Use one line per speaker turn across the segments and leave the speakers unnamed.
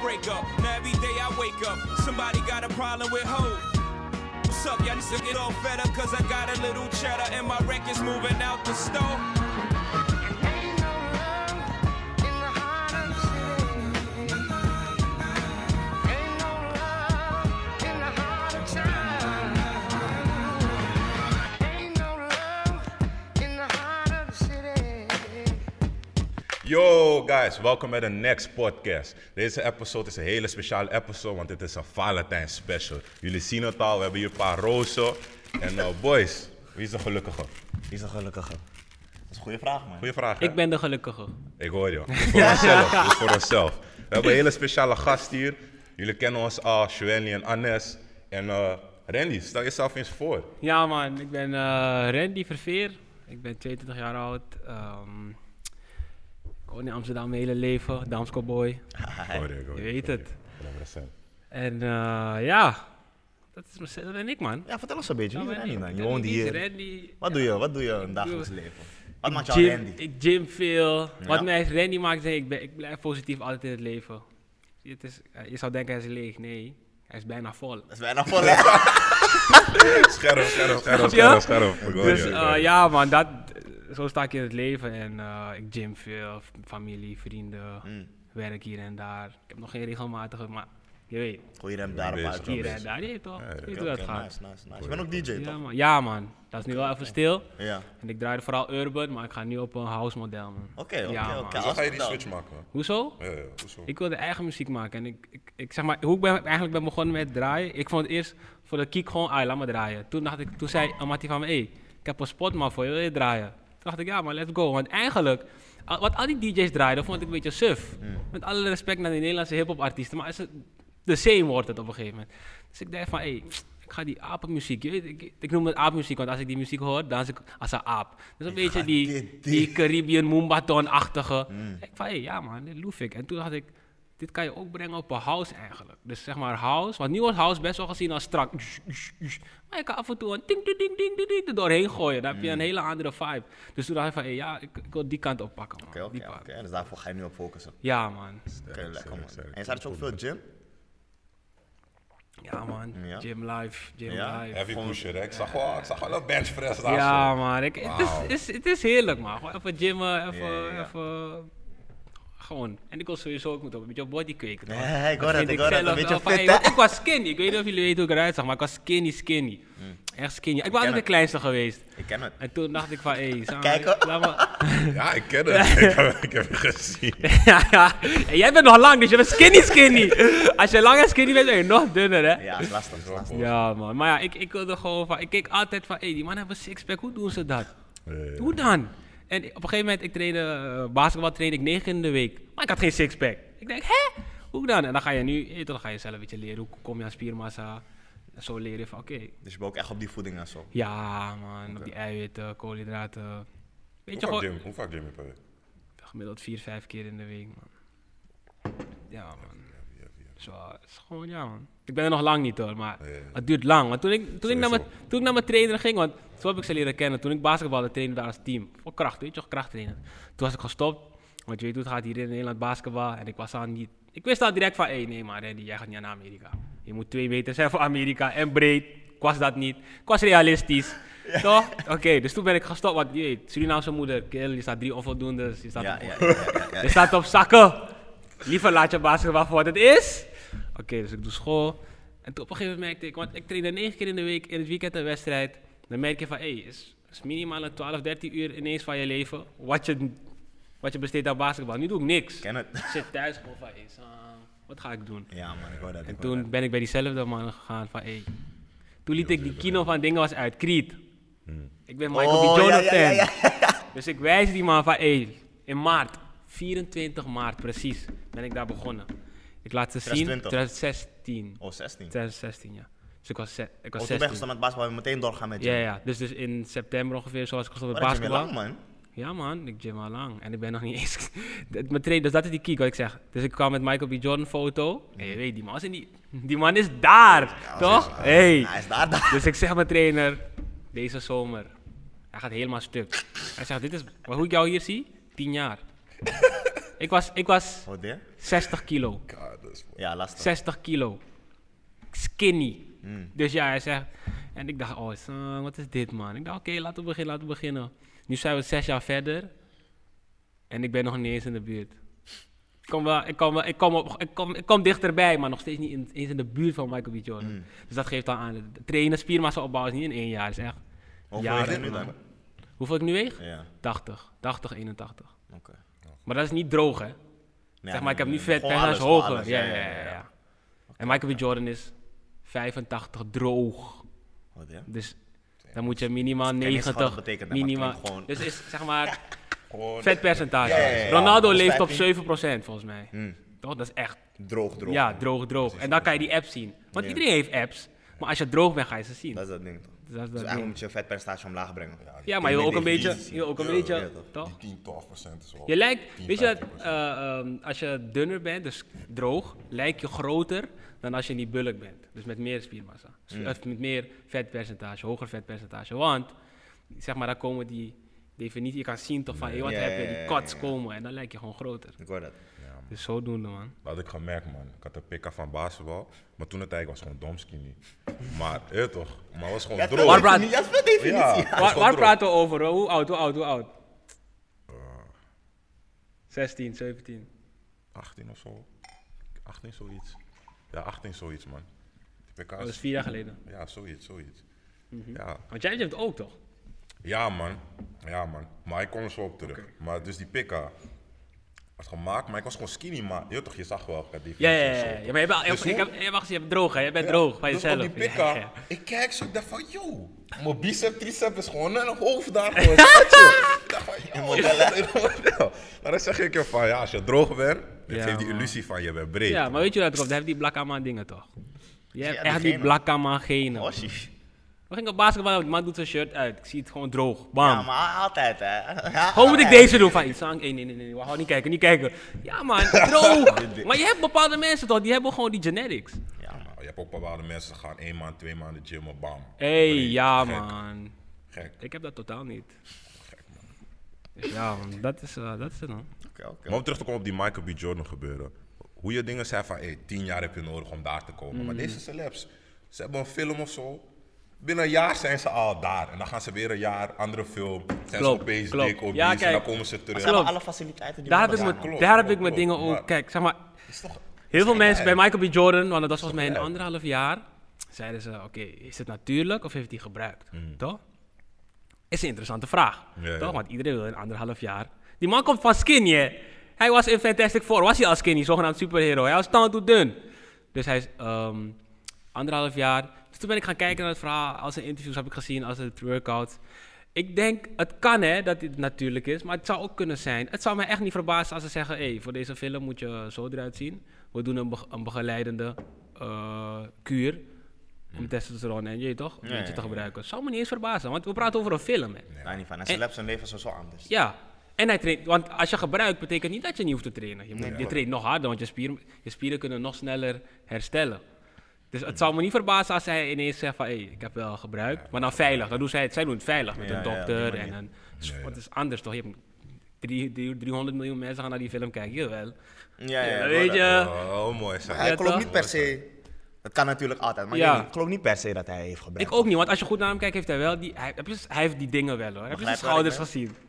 breakup. Now every day I wake up, somebody got a problem with hope. What's up, y'all? Just to get all fed up, cause I got a little cheddar and my record's moving out the store.
Yo guys, welkom bij de Next Podcast. Deze episode is een hele speciale episode, want het is een Valentijn special. Jullie zien het al, we hebben hier een paar rozen. En nou, boys, wie is de gelukkige?
Wie is de gelukkige? Dat is een goede vraag, man.
Goeie vraag. hè?
Ik ben de gelukkige.
Ik hoor je. Dit is voor onszelf. dit is voor onszelf. We hebben een hele speciale gast hier. Jullie kennen ons al, Shwenny en Anes. En eh, Randy, stel jezelf eens voor.
Ja man, ik ben eh, Randy Verveer. Ik ben 22 jaar oud. Ehm, ik woon in Amsterdam mijn hele leven, Damsko boy.
Ik hoor ik hoor
Je weet
ik hoor
het.
Ik ben er recent.
En eh, ja, dat is mez- dat ben ik man.
Ja, vertel ons een beetje.
Dat
Wie is Randy,
ben ik.
man? Je
Dat
woont
ik niet
hier.
Randy.
Wat doe je? Wat doe je in dagelijks
doe-
leven? Wat maakt jou
Gym-
Randy?
Ik gym veel.
Ja.
Wat mij Randy maakt, is ik, ben, ik blijf positief altijd in het leven. Het is, eh, je zou denken hij is leeg. Nee, hij is bijna vol.
Dat is bijna voor hè?
Scherp, scherp, scherp, scherp,
Ja?
scherp. Ik hoor je,
Dus
ik
eh,
hoor je.
ja, man, dat, zo sta ik in het leven. En eh, ik gym veel, f- familie, vrienden, werk hier en daar. Ik heb nog geen regelmatige, maar je weet,
Goeie rem daar,
bezig,
een paar
wel
hier
keer.
bezig.
en daar, je weet toch?
Ja, ja,
je weet hoe
oké,
dat
Oké,
gaat.
Nice, nice, nice. Je bent ook DJ,
Ja
toch?
man. ja, man, dat is nu wel even stil.
Ja.
En ik draai vooral urban, maar ik ga nu op een house model, man.
Oké,
Ja,
oké,
man.
oké.
Dus dan ga je die
Als-
switch maken.
Hoezo?
Ja, ja, hoezo?
Ik wilde eigen muziek maken. En ik, ik, ik zeg maar, hoe ik ben, eigenlijk ben begonnen met draaien. Ik vond het eerst voor de kick gewoon, ah, laat me draaien. Toen, dacht ik, toen zei Amati van me, hey, ik heb een spot maar voor je, wil je draaien? Toen dacht ik, ja, maar let's go. Want eigenlijk, al- wat al die DJ's draaiden, vond ik een beetje suf.
Mm.
Met alle respect naar die Nederlandse hip-hop artiesten. Maar is het, de same wordt het op een gegeven moment. Dus ik dacht van, hey, ik ga die apenmuziek. Je weet, ik, ik noem het apenmuziek, want als ik die muziek hoor, dans ik als een aap. Dus een beetje
ga
die,
dit- dit.
die Caribbean Moombaton-achtige.
Mm.
Ik van, hé, ja man, dit loef ik. En toen had ik, dit kan je ook brengen op een house eigenlijk. Dus zeg maar house, want nu wordt house best wel gezien als strak. Maar je kan af en toe een ding, ding, ding, ding, ding, ding er doorheen gooien. Dan heb je
Mm.
een hele andere vibe. Dus toen dacht ik van, hé, ja, ik, ik wil die kant oppakken man.
Oké,
die
oké,
kant.
oké. Dus daarvoor ga je nu op focussen.
Ja man,
Oké, lekker, man.
sterk.
En je staat dus ook veel gym?
ja man,
Ja.
gym life, gym
Ja?
life.
Heavy pusher, hè? Ik zag wel, ik zag wel een bench press daar.
Ja
zo.
man, ik, het, is,
Wauw.
is, het is heerlijk man. Gewoon even gymmen, even,
Ja, ja, ja.
even... Gewoon. En ik wil sowieso ook moeten op een beetje op body kweken. toch?
Ja, ik hoor het,
Dat vind
ik hoor het.
zelf
Een beetje
wel van,
fit,
hey,
hè?
want Ik was skinny. Ik weet niet of jullie weten hoe ik eruit zag, maar ik was skinny, skinny. Echt skinny. Ik was altijd de
Mm. het.
kleinste geweest.
Ik ken het.
En toen dacht ik van, hé, hey, Sam,
Kijk, hoor.
laat me...
Ja, ik ken het. ik, heb, ik heb het gezien.
ja, ja. En jij bent nog lang, dus je bent skinny, skinny. Als je lang en skinny bent, ben je nog dunner, hè?
Ja, is lastig, is lastig.
Ja, man. Maar ja, ik, ik wilde gewoon van... Ik keek altijd van, hé, hey, die man hebben een sixpack. Hoe doen ze dat?
Eh,
Hoe dan? En op een gegeven moment, ik trainde, eh, basketbal trainde ik negen in de week. Maar ik had geen sixpack. Ik denk, hè? Hoe dan? En dan ga je nu, je weet toch, dan ga je zelf een beetje leren. Hoe kom je aan spiermassa? En zo leren van, oké.
Dus je bent ook echt op die voeding en zo.
Ja, man. Op die eiwitten, koolhydraten. Weet je
Hoe vaak
gewoon,
gym- hoe vaak gym je per week?
gemiddeld vier, vijf keer in de week, man. Ja, man. Zo, het is gewoon, ja, man. Ik ben er nog lang niet hoor, maar
ja, ja.
het duurt lang. Want toen ik, toen, ik naar mijn,
Sowieso.
toen ik naar mijn trainer ging, want zo heb ik ze leren kennen. Toen ik basketbalde, trainde daar als team. Voor kracht, weet je toch, krachttrainen. Toen was ik gestopt, want je weet hoe het gaat hier in Nederland basketbal. En ik was al niet... Ik wist al direct van, hé, nee maar Randy, jij gaat niet naar Amerika. Je moet twee meter zijn voor Amerika en breed. Ik was dat niet. Ik was realistisch. Toch? Oké, dus toen ben ik gestopt, want je weet, Surinaamse moeder, kill, je staat drie onvoldoendes, je staat
Ja,
op
ja, ja, ja, ja.
je staat op zakken. Liever laat je basketbal voor wat het is. Oké, dus ik doe school. En toen op een gegeven moment merkte ik, want ik trainde 9 keer in de week, in het weekend een wedstrijd. Dan merk je van, hé, is, is minimaal een 12, 13 uur ineens van je leven. Wat je, wat je besteedt aan basketbal. Nu doe ik niks.
Ik ken het.
Ik zit thuis gewoon van, hé, Sam, wat ga ik doen?
Ja, man, ik hoor dat. ik
En
hoor
toen ben ik bij diezelfde man gegaan van, hé. Toen liet ik die kino van dingen was uit, Creed. Ik ben Michael
Oh,
B.
ja, ja,
Jordan
ja,
fan.
ja,
Dus ik wijs die man van, hé, in maart, 24 maart precies, ben ik daar begonnen. Ik laat ze zien,
2020.
2016.
dat. Oh, 16.
2016, ja. Dus ik was, ze- ik was
Oh, toen ben je
16.
gestopt met basketbal en meteen doorgaan met
Ja,
gym.
ja, dus, dus in september ongeveer, zoals ik gestopt met
Maar dat is weer
basketbal.
lang, man.
Ja man, ik gym al lang. En ik ben nog niet eens... Het- Mijn trainer, dus dat is die kick wat ik zeg. Dus ik kwam met Michael B. Jordan foto.
Mhm.
En je weet, die man is, in die, die man is daar, toch? hey.
Hij is daar, daar.
Dus ik zeg mijn trainer, deze zomer, hij gaat helemaal stuk. Hij zegt, dit is, maar hoe ik jou hier zie, tien jaar. Ik was, ik was
Wat deed?
60 kilo.
God, dat is-
Ja, lastig.
60 kilo. Skinny. Dus ja, hij zegt. En ik dacht, oh, zo, wat is dit, man? Ik dacht, oké, laten we beginnen, laten we beginnen. Nu zijn we zes jaar verder. En ik ben nog niet eens in de buurt. Ik kom, wel, ik kom, wel, ik kom, op, ik kom, ik kom dichterbij, maar nog steeds niet in- eens in de buurt van Michael B. Jordan. Dus dat geeft dan aan. Trainen, spiermassa opbouwen is niet in één jaar. is echt.
Hoeveel
jaren,
weeg je nu dan?
man. Hoeveel ik nu weeg?
Ja,
80, 80, 81.
oké.
Maar dat is niet droog, hè?
Nee,
zeg maar, ik heb nu
gewoon
vet
alles,
percentage
gewoon
hoger.
alles,
ja, ja, ja, ja. En Michael B. Jordan is 85 droog.
Wat deed?
Dus dan moet je minimaal
Tennis gaat
90.
dat betekenen, maar
minimaal.
klinkt gewoon-
Dus is zeg maar
Gewoon
vet percentage.
Ja, ja, ja, ja.
Ronaldo
Dat is
leeft op 7%
15.
volgens mij. Toch? Dat is echt.
Droog, droog.
Ja, droog, droog. En dan kan je die app zien. Want
Ja.
iedereen heeft apps. Maar als je droeg bent, ga je ze zien.
Dat is dat ding toch?
Dus dat
Dus
is dat
eigenlijk
ding.
moet je vetpercentage omlaag brengen.
Ja, maar je wil ook een beetje.
definitie.
Je wil ook een
Ja, ja,
beetje.
toch.
Toch?
die 10, 12 procent is wel.
Je lijkt,
10,
weet je dat,
15%.
eh, ehm, als je dunner bent, dus droog, lijk je groter dan als je niet bulk bent. Dus met meer spiermassa. Dus of met meer vetpercentage, hoger vetpercentage. Want, zeg maar, daar komen die definitie, je kan zien toch van, hé, wat
Ja,
heb
ja,
je,
ja,
die cuts
ja.
komen en dan lijk je gewoon groter.
Ik hoor dat.
Dus zodoende, man.
Dat had ik gemerkt, man. Ik had een pk van basketbal, maar toen het eigenlijk was gewoon dom skinny. Maar, eh toch, maar was gewoon droog.
waar praat-
Dat is wel definitie.
Ja, was
Ja.
Waar,
gewoon
waar
droog.
praten we over? hoor? Hoe oud, hoe oud, hoe oud? 16, 17.
18 of zo. 18 zoiets. Ja, 18 zoiets, man. Die pk
Dat is
is...
vier jaar geleden.
Ja, zoiets, zoiets. Ja.
Want jij hebt het ook, toch?
Ja, man. Ja, man. Maar ik kom er zo op terug. Maar dus die pika was gemaakt, maar ik was gewoon skinny, maar je, weet toch, je zag wel. ik had die
Ja, ja,
vlekjes
ja.
en
ja.
zo.
Ja, maar je hebt, wel-
Dus
ik
hoe-
heb, je hebt gezien, je bent droog, hè? Je bent
Ja,
droog bij
dus op
jezelf.
die
Ja,
pika,
ja.
ik kijk zo, ik dacht van, yo, mijn bicep, tricep is gewoon net een hoofd daar gewoon. schatje. ik dacht van, yo, in model. Maar dan zeg ik je van, ja, als je droog bent, het
Ja,
geeft die
man.
illusie van je bent breed.
Ja, maar weet je wat het komt? Hij heeft die Blakama dingen toch? Je hebt
Ja,
echt
die
die
genen.
Blakama genen.
Ossie.
We gingen op basketbal, de man doet zijn shirt uit. Ik zie het gewoon droog. Bam.
Ja, maar altijd hè. Ja,
Gewoon moet ik
altijd.
deze doen van iets aan. Nee, nee, nee, nee. Wacht, niet kijken, niet kijken. Ja, man, droog. maar je hebt bepaalde mensen toch, die hebben gewoon die genetics.
Ja, man.
Maar Oh, je hebt ook bepaalde mensen, ze gaan één maand, twee maanden gym, en bam.
Hé,
breed.
ja,
Gek,
man.
Gek.
Ik heb dat totaal niet. Dus ja, man, dat is, eh, dat is het, man.
Oké, oké.
Maar om terug te komen op die Michael B. Jordan gebeuren. Hoe je dingen zei van, hey, tien jaar heb je nodig om daar te komen.
Mhm.
Maar deze celebs, ze hebben een film of zo. Binnen een jaar zijn ze al daar. En dan gaan ze weer een jaar, andere film. Zijn
Klopt,
ze opeens
klopt.
dik, obese,
Ja,
en dan
kijk.
komen ze terug.
Klopt.
Maar alle faciliteiten die we
Daar heb ik
hebben
mijn,
klopt,
daar heb
klopt,
ik mijn
klopt.
dingen
Maar-
ook. Kijk, zeg maar,
Is toch-
Heel veel
is
mensen bij
gek.
Michael B. Jordan, want dat was volgens mij een
gek.
anderhalf jaar, zeiden ze: Oké, is het natuurlijk of heeft hij gebruikt? Toch? Is een interessante vraag.
Hmm. Ja,
toch?
ja.
Want iedereen wil in anderhalf jaar. Die man komt van skinny. hè? Hij was in Fantastic Four. Was hij al skinny, zogenaamd superhero? Hij was stand toe dun. Dus hij is ehm, anderhalf jaar. Dus toen ben ik gaan kijken naar het verhaal. Als zijn interviews heb ik gezien, als het workout. Ik denk, het kan hè, dat dit natuurlijk is, maar het zou ook kunnen zijn. Het zou me echt niet verbazen als ze zeggen, hey, voor deze film moet je zo eruit zien. We doen een, bege- een begeleidende eh, kuur om testosteron en je weet toch,
Ja,
een beetje
ja, ja.
te gebruiken. zou me niet eens verbazen, want we praten over een film hè.
Nee, niet van. En celebs hun leven is zo anders.
Ja, en hij traint. Want als je gebruikt, betekent niet dat je niet hoeft te trainen. Je, moet, je traint nog harder, want je spieren, je spieren kunnen nog sneller herstellen. Dus het zou me niet verbazen als hij ineens zegt van, hé, ik heb wel gebruikt. Maar dan veilig, dan doen zij het. Zij doen het veilig met
Ja,
een
ja, op die
dokter en
manier.
een... Want het is anders toch? Je hebt drie, drie- 300 miljoen mensen gaan naar die film kijken, jawel.
Ja, ja,
Dan
ik hoor
weet
dat.
je...
Oh, mooi zijn.
Ja, ik geloof
toch?
niet per se. Het kan natuurlijk altijd, maar
Ja.
ik geloof niet per se dat hij heeft gebruikt.
Ik ook niet, want als je goed naar hem kijkt, heeft hij wel die... Hij, heb je- hij heeft die dingen wel hoor. Heb je zijn
Begrijp waar
schouders
ik ben?
gezien?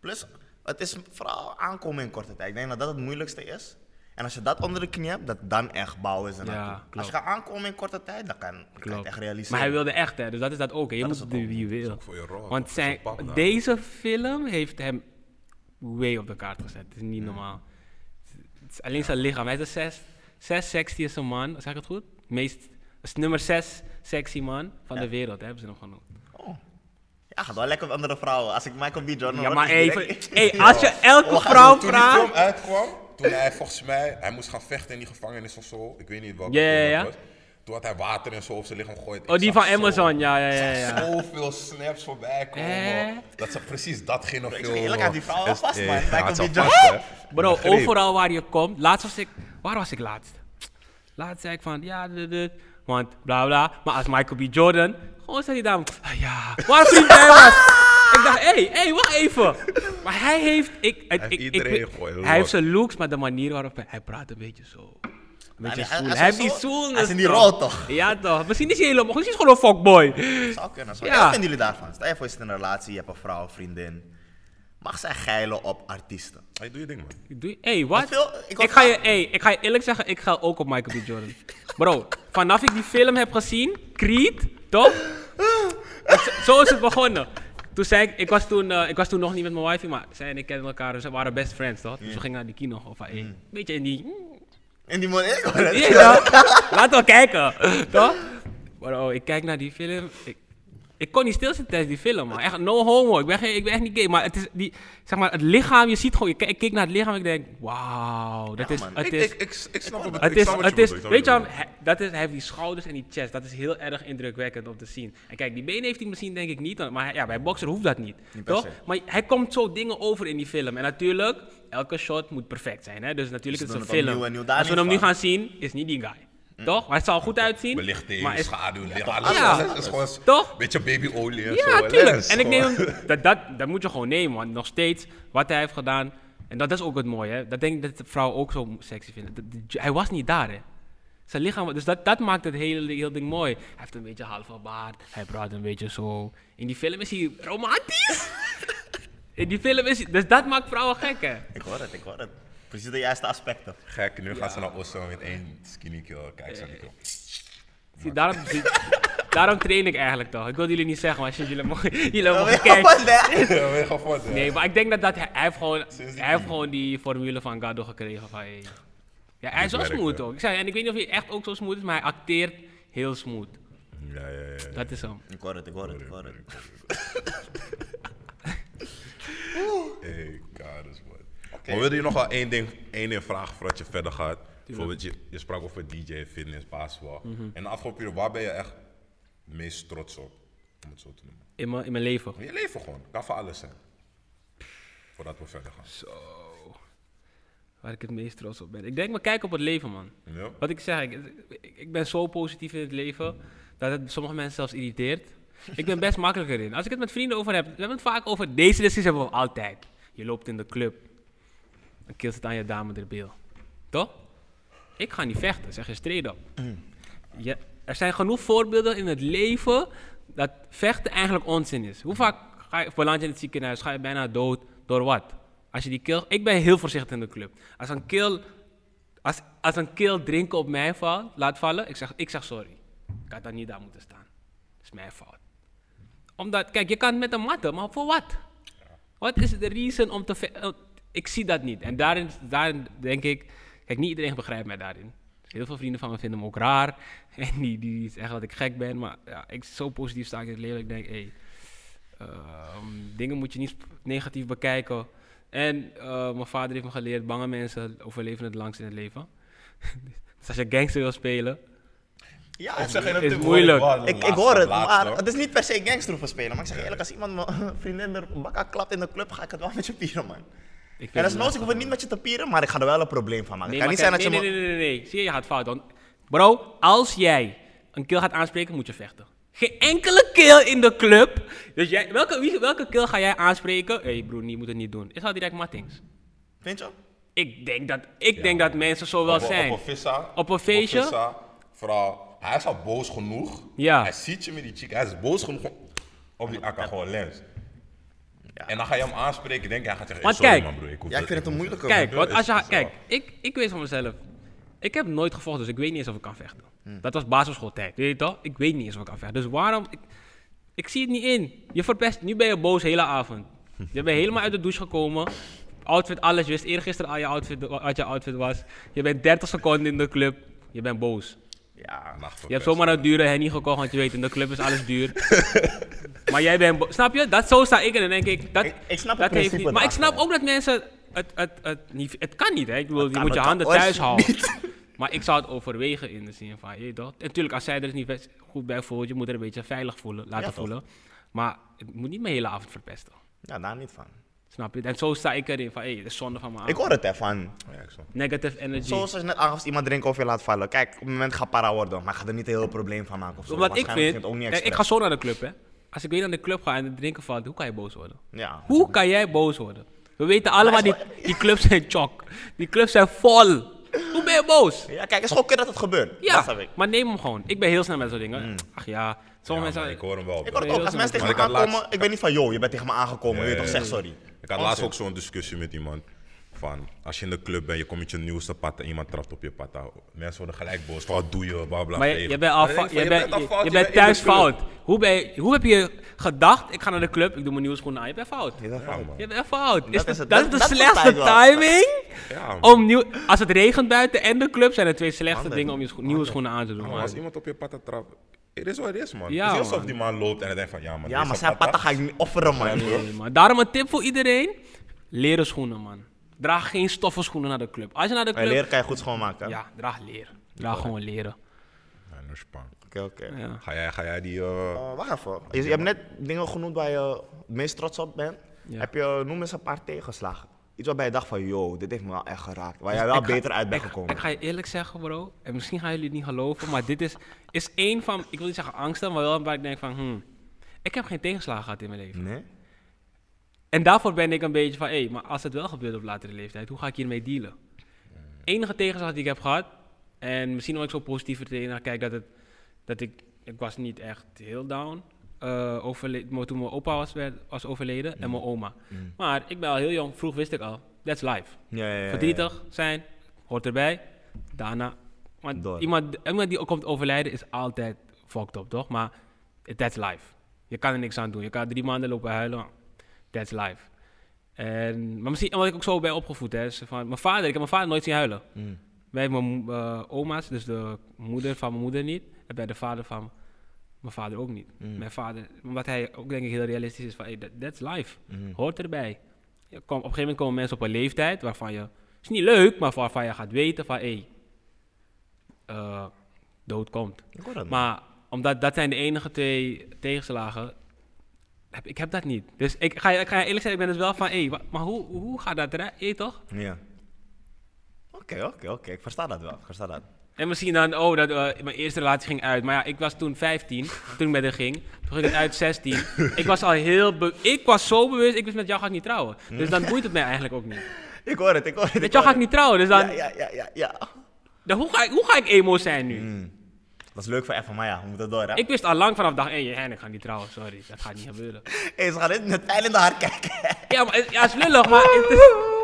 Plus, het is vooral aankomen in korte tijd. Ik denk dat dat het moeilijkste is. En als je dat onder de knie hebt, dat dan echt bouwen ze
Ja,
naartoe.
klopt.
Als je gaat aankomen in korte tijd, dan kan, dan kan je het echt realiseren.
Maar hij wilde echt, hè? Dus dat is dat ook. Hè? Je moet het wie wil.
voor je rol, toch?
Want
Oh, Dat is
zijn,
een pap daar.
deze film heeft hem way op de kaart gezet. Het is niet normaal. Het is alleen zijn lichaam. Hij is de zes, zes sexy is een man. Zeg ik het goed? Meest, is nummer zes sexy man van de wereld. Hè? Hebben ze hem genoemd.
Oh. Ja, gaat wel lekker met andere vrouwen. Als ik Michael B. Jordan
Ja,
hoor,
maar
is
even,
direct-
hey, als
Oh,
je elke vrouw
Toen die film
vraagt...
uitkwam, toen hij volgens mij, hij moest gaan vechten in die gevangenis of zo. Ik weet niet welke
Ja,
film
ja,
dat
ja.
was. Toen had hij water en zo op zijn lichaam gegooid.
Oh,
Ik
die
zag
van
zo-
Amazon. Ja, ja, ja.
Ik zag
ja.
zoveel snaps voorbij komen.
Hè?
Dat ze precies datgene
zeg
filmen.
eerlijk, aan die vrouw wel vast,
Eh,
man.
ja,
Michael
het zat
B. Jordan.
vast, hè.
Bro,
Begreep.
overal waar je komt. Laatst was ik. Waar was ik laatst? Laatst zei ik van ja, dit, dit, Want bla bla. Maar als Michael B. Jordan. Gewoon zei hij dan. "Ah, ja, waar een vriend bij was. Ik dacht, hé, hey, hé, hey, wacht even. Maar hij heeft... Ik, het-
heeft
ik, ik,
iedereen
ik-
gewoon los.
hij heeft zijn looks, maar de manier waarop hij, hij praat een beetje zo. Een beetje
hij- hij-
zoen.
hij
Hij,
is
heeft
wel
die
zo-
zoen.
hij is in die rol, toch?
Ja toch. Misschien is hij helemaal... Misschien is hij gewoon een fuckboy.
Zou kunnen. Zou.
Ja.
Ja. Wat vinden jullie daarvan? Stel je voor, je zit in een relatie, je hebt een vrouw, vriendin. Mag zij geilen op artiesten?
Hey, doe je ding, man.
Ik Doe, hey, wat?
veel- ik
ik,
hoor
ga je,
vaak-
hey, ik ga je eerlijk zeggen, ik ga ook op Michael B. Jordan. Bro, vanaf ik die film heb gezien, Creed, toch? Want zo- Zo is het begonnen. Toen zei ik, ik was toen, eh, ik was toen nog niet met mijn wife, maar zij en ik kenden elkaar, dus we waren best friends, toch? Dus we gingen naar die kino, of hey,
Mm.
beetje in die...
En die man ik hoor het.
Ja, toch? Laten we kijken, toch? Bro, ik kijk naar die film, ik, ik kon niet stilzitten tijdens die film, man. Echt, no homo, ik ben, geen, ik ben echt niet gay, maar het is die, zeg maar, het lichaam, je ziet gewoon, ik, kijk- ik keek naar het lichaam en ik denk, wauw, dat is,
man.
het
Ik,
is...
ik, ik, ik snap het.
Het
ik
is,
snap wat
het
je
is,
bedoelt, ik snap
weet je,
wat
wel,
je bedoelt.
hij- dat is, hij heeft die schouders en die chest. Dat is heel erg indrukwekkend om te zien. En kijk, die benen heeft hij misschien denk ik niet, want- maar hij- ja, bij bokser hoeft dat niet.
Niet per
toch?
se.
Maar hij komt zo dingen over in die film. En natuurlijk, elke shot moet perfect zijn. Hè? Dus natuurlijk
Ze
het is
doen
een
het
film.
opnieuw en opnieuw, daar
Als we
niet
hem nu
van.
gaan zien, is niet die guy. Toch? Maar het zal goed uitzien. maar
Belichting,
is-
schaduw, licht,
Ja.
alles. Het is gewoon een
Toch?
beetje babyolie en zo.
Ja,
hè,
tuurlijk.
lens,
En ik neem
gewoon.
hem, dat, dat, dat moet je gewoon nemen, want nog steeds wat hij heeft gedaan. En dat is ook het mooie, hè. Dat denk ik dat de vrouw ook zo sexy vinden. Dat- dat- hij was niet daar, hè. Zijn lichaam, dus dat, dat maakt het hele heel ding mooi. Hij heeft een beetje halve baard, hij praat een beetje zo. In die film is hij romantisch. In die film is hij, dus dat maakt vrouwen gek, hè.
Ik hoor het, ik hoor het. Precies de juiste aspecten.
Gek, nu gaan ze naar Oslo met één skinny kill. Kijk, zo niet op.
Zie, daarom, zie- daarom train ik eigenlijk toch. Ik wilde jullie niet zeggen, maar shit, jullie mogen, jullie mogen
Ja,
kijken.
man, hè?
Ja, we gaan voort, ja.
Nee, maar ik denk dat, dat hij, hij heeft gewoon,
Sinds die
hij heeft
tien.
gewoon die formule van Gado gekregen. Van, hey. Ja, hij is wel
werkt,
smooth
hè.
ook. Ik zei, en ik weet niet of hij echt ook zo smooth is, maar hij acteert heel smooth.
Ja, ja, ja.
Dat is hem.
Ik hoor het, ik hoor het, ik hoor het.
Hey, God is what. Maar wilde je nog wel één ding, één ding vragen voordat je verder gaat? Bijvoorbeeld, je, je sprak over DJ, fitness, basketbal. En de afgelopen periode, waar ben je echt meest trots op? Om het zo te noemen.
In mijn, in mijn leven.
Je leven gewoon, kan voor alles zijn. Voordat we verder gaan.
Waar ik het meest trots op ben. Ik denk, maar kijk op het leven, man.
Ja?
Wat ik zeg, ik, ik- ik ben zo positief in het leven dat het sommige mensen zelfs irriteert. Ik ben best makkelijker in. Als ik het met vrienden over heb, we hebben het vaak over deze discussies hebben we altijd. Je loopt in de club, een keel zit aan je dame de beel. Toch? Ik ga niet vechten, zeg je straight op. Je- er zijn genoeg voorbeelden in het leven dat vechten eigenlijk onzin is. Hoe vaak ga je, beland je in het ziekenhuis, ga je bijna dood door wat? Als je die keel, ik ben heel voorzichtig in de club. Als een keel, als, als een keel drinken op mij valt, laat vallen, ik zeg, ik zeg sorry. Ik had daar niet daar moeten staan. Dat is mijn fout. Omdat, kijk, je kan het met een matte, maar voor wat? Wat is de reason om te... ve- eh, Ik zie dat niet. En daarin, daarin denk ik... Kijk, niet iedereen begrijpt mij daarin. Dus heel veel vrienden van me vinden me ook raar. En die, die zeggen dat ik gek ben. Maar ja, ik, zo positief sta ik in het leven. Ik denk, hey, ehm, dingen moet je niet negatief bekijken. En eh, mijn vader heeft me geleerd, bange mensen overleven het langst in het leven. dus als je gangster wil spelen...
Ja,
Ik zeg je dat
is
dit
moeilijk.
woord wel,
Ik, ik
laatste,
hoor het,
laatste,
maar
hoor.
het is niet per se gangstroeven spelen. Maar ik zeg je eerlijk, als iemand mijn vriendin er bakka klapt in de club, ga ik het wel met je pieren, man.
Ik vind
En dat
het
is nooit, ik hoef het niet met je te pieren, maar ik ga er wel een probleem van maken.
Nee,
het kan
maar
niet zijn
kijk,
dat je
nee,
me-
nee, nee, nee, nee. Zie je, je gaat fout. Want, bro, als jij een keel gaat aanspreken, moet je vechten. Geen enkele keel in de club. Dus jij, welke, wie, welke keel ga jij aanspreken? Hé hey broer, je moet het niet doen. Is al direct Mattings.
Vind je?
Ik denk dat, ik denk dat mensen zo wel
Op een-
zijn.
Op een vissa.
Op een feestje.
vissa, vooral, hij is al boos genoeg.
Ja.
Hij ziet je met die chick. Hij is boos genoeg om- op die akka gewoon lens.
Ja.
En dan ga je hem aanspreken. Denk je, hij gaat zeggen,
Want
"Hey, sorry
kijk.
man, broer, ik hoef
Ja, ik vind het een
hoef
moeilijke.
Kijk,
Ja,
want
is-
als je,
is
kijk ik, ik weet van mezelf. Ik heb nooit gevochten, dus ik weet niet eens of ik kan vechten. Dat was basisschooltijd, weet je toch? Ik weet niet eens of ik kan vechten. Dus waarom... Ik, ik zie het niet in. Je verpest... Nu ben je boos de hele avond. Je bent helemaal uit de douche gekomen. Outfit, alles. Je wist eergisteren al je outfit, wat je outfit was. Je bent 30 seconden in de club. Je bent boos.
Ja,
Nacht
Je hebt
verpest.
zomaar een dure hennie gekocht, want je weet, in de club is alles duur. maar jij bent... bo- Snap je? Dat, zo sta ik in en denk ik... Dat,
Ik- ik snap het
dat heeft
principe
niet- Maar ik
erachter,
snap
hè.
ook dat mensen... Het, het, het, niet, het kan niet, hè? Ik bedoel, je
kan,
moet je
het
handen
kan
thuis houden. maar ik zou het overwegen in de zin van... Je, dat, natuurlijk, als zij er dus niet best goed bij voelt, je moet er een beetje veilig voelen, laten
Ja, toch.
voelen. Maar het moet niet mijn hele avond verpesten.
ja daar niet van.
Snap je? En zo sta ik erin van, hé, de zonde van mijn
Ik
avond.
hoor het ervan.
Ja, ik snap.
Negative energy.
Zoals je net aangaf, als iemand drinken of je laat vallen. Kijk, op het moment ga para worden, maar ga er niet een heel probleem van maken. Of zo.
Omdat ik
Waarschijnlijk
vind,
is het ook niet
kijk, ik ga
expres.
zo naar de club, hè. als ik weer naar de club ga en het drinken valt, hoe kan je boos worden?
Ja.
Hoe kan jij boos worden? We weten allemaal, die, die clubs zijn chok. Die clubs zijn vol. Hoe ben je boos?
Ja, kijk, het is gewoon keer dat het gebeurt.
Ja,
Dat snap ik.
maar neem hem gewoon. Ik ben heel snel met zo'n dingen. Ach ja, sommige
maar ik
mensen...
hoor hem wel. bro.
Ik word ook, als
heel
mensen tegen
snel. Maar
me
ik had
aankomen,
laatst-
ik ben niet van, joh, je bent tegen me aangekomen, weet je toch, zeg sorry.
Ik had laatst ook zo'n discussie met iemand. Van, als je in de club bent, je komt met je nieuwste pad en iemand trapt op je pad. nou, Mensen worden gelijk boos. Van, Wat doe je? Bla, bla,
Maar je,
tegen.
je bent al
Maar
fa-
dan denk ik
je
van,
bent,
al
je,
fout,
je
bent
bent
in de
thuis
club.
fout. Hoe, ben je- hoe heb je gedacht, ik ga naar de club, ik doe mijn nieuwe schoenen aan. Je bent fout.
Is dat fout?
Je bent fout. Is
Dat
de-
is het-
dat is de
dat- dat is
slechtste
tijd wel.
timing.
Ja, man.
om nieuw, als het regent buiten en de club zijn het twee slechte dingen om je scho- nieuwe schoenen aan te doen.
Ja,
man.
maar als iemand op je patta trapt, het is wat het is, man.
Ja,
het is alsof
man.
die man loopt en hij denkt van, ja, man.
Ja, maar zijn patta
patta
ga ik niet offeren, man.
Nee, man. Daarom een tip voor iedereen: leren schoenen, man. Draag geen stoffen schoenen naar de club. Als je naar de
En
club.
leren kan je goed schoonmaken. hè?
Ja, draag leer. Draag gewoon leren.
Ja, nou, span.
Oké, oké.
Ja.
Ga jij, ga jij die... eh,
Eh, wacht even. Je, je hebt net dingen genoemd waar je het meest trots op bent.
Ja.
Heb je, noem eens een paar tegenslagen. Iets waarbij je dacht van, yo, dit heeft me wel echt geraakt. Waar jij wel
Dus Ik ga-
beter uit bent
ik-
gekomen.
Ik ga je eerlijk zeggen, bro. En misschien gaan jullie het niet geloven, maar dit is, is één van, ik wil niet zeggen angsten, maar wel waar ik denk van, hmm, ik heb geen tegenslagen gehad in mijn leven.
Nee?
En daarvoor ben ik een beetje van, hé, maar als het wel gebeurt op latere leeftijd, hoe ga ik hiermee dealen? Enige tegenslag die ik heb gehad, en misschien omdat ik zo positief er tegenaan kijk, dat, het, dat ik, ik was niet echt heel down. eh overle- maar toen mijn opa was, werd- was overleden en mijn oma. Maar ik ben al heel jong, vroeg wist ik al, that's life.
Ja, ja, ja, ja.
Verdrietig zijn, hoort erbij. Daarna, want
Door.
iemand, iemand die komt overlijden is altijd fucked up, toch? Maar that's life. Je kan er niks aan doen. Je kan drie maanden lopen huilen, maar that's life. En, maar misschien omdat ik ook zo ben opgevoed. Hè, is van, mijn vader, ik heb mijn vader nooit zien huilen. Bij mijn mo- eh, oma's, dus de moeder van mijn moeder niet. En bij de vader van mijn vader ook niet. Mijn vader, omdat hij ook denk ik heel realistisch is van, hey, that- that's life. Hoort erbij. Je kom, op een gegeven moment komen mensen op een leeftijd waarvan je, is niet leuk, maar waarvan je gaat weten van, hey, eh, dood komt.
Ik hoor dat.
Maar omdat dat zijn de enige twee tegenslagen, heb, ik heb dat niet. Dus ik ga, je- ik ga je eerlijk zijn, ik ben dus wel van, hey, wa- maar hoe, hoe gaat dat eruit, hey, toch?
Ja. Oké, oké, oké. Ik versta dat wel. Ik versta dat.
En misschien dan, oh, dat, eh, mijn eerste relatie ging uit. Maar ja, ik was toen 15, toen ik met haar ging. Toen ging het uit 16. ik was al heel, be- ik was zo bewust, ik wist met jou ga ik niet trouwen. Dus dan boeit het mij eigenlijk ook niet.
Ik hoor het, ik hoor het.
Met jou ga ik niet trouwen, dus dan,
Ja, ja, ja, ja, ja.
dan hoe, ga ik, hoe ga ik emo zijn nu?
Mm. Dat is leuk voor F, maar ja, we moeten door, hè?
Ik wist al lang vanaf dag 1, en ik ga niet trouwen, sorry, dat gaat niet gebeuren.
Hey, ze gaan dit met pijl in de haar kijken.
Ja, maar het, ja, het is lullig, maar het is,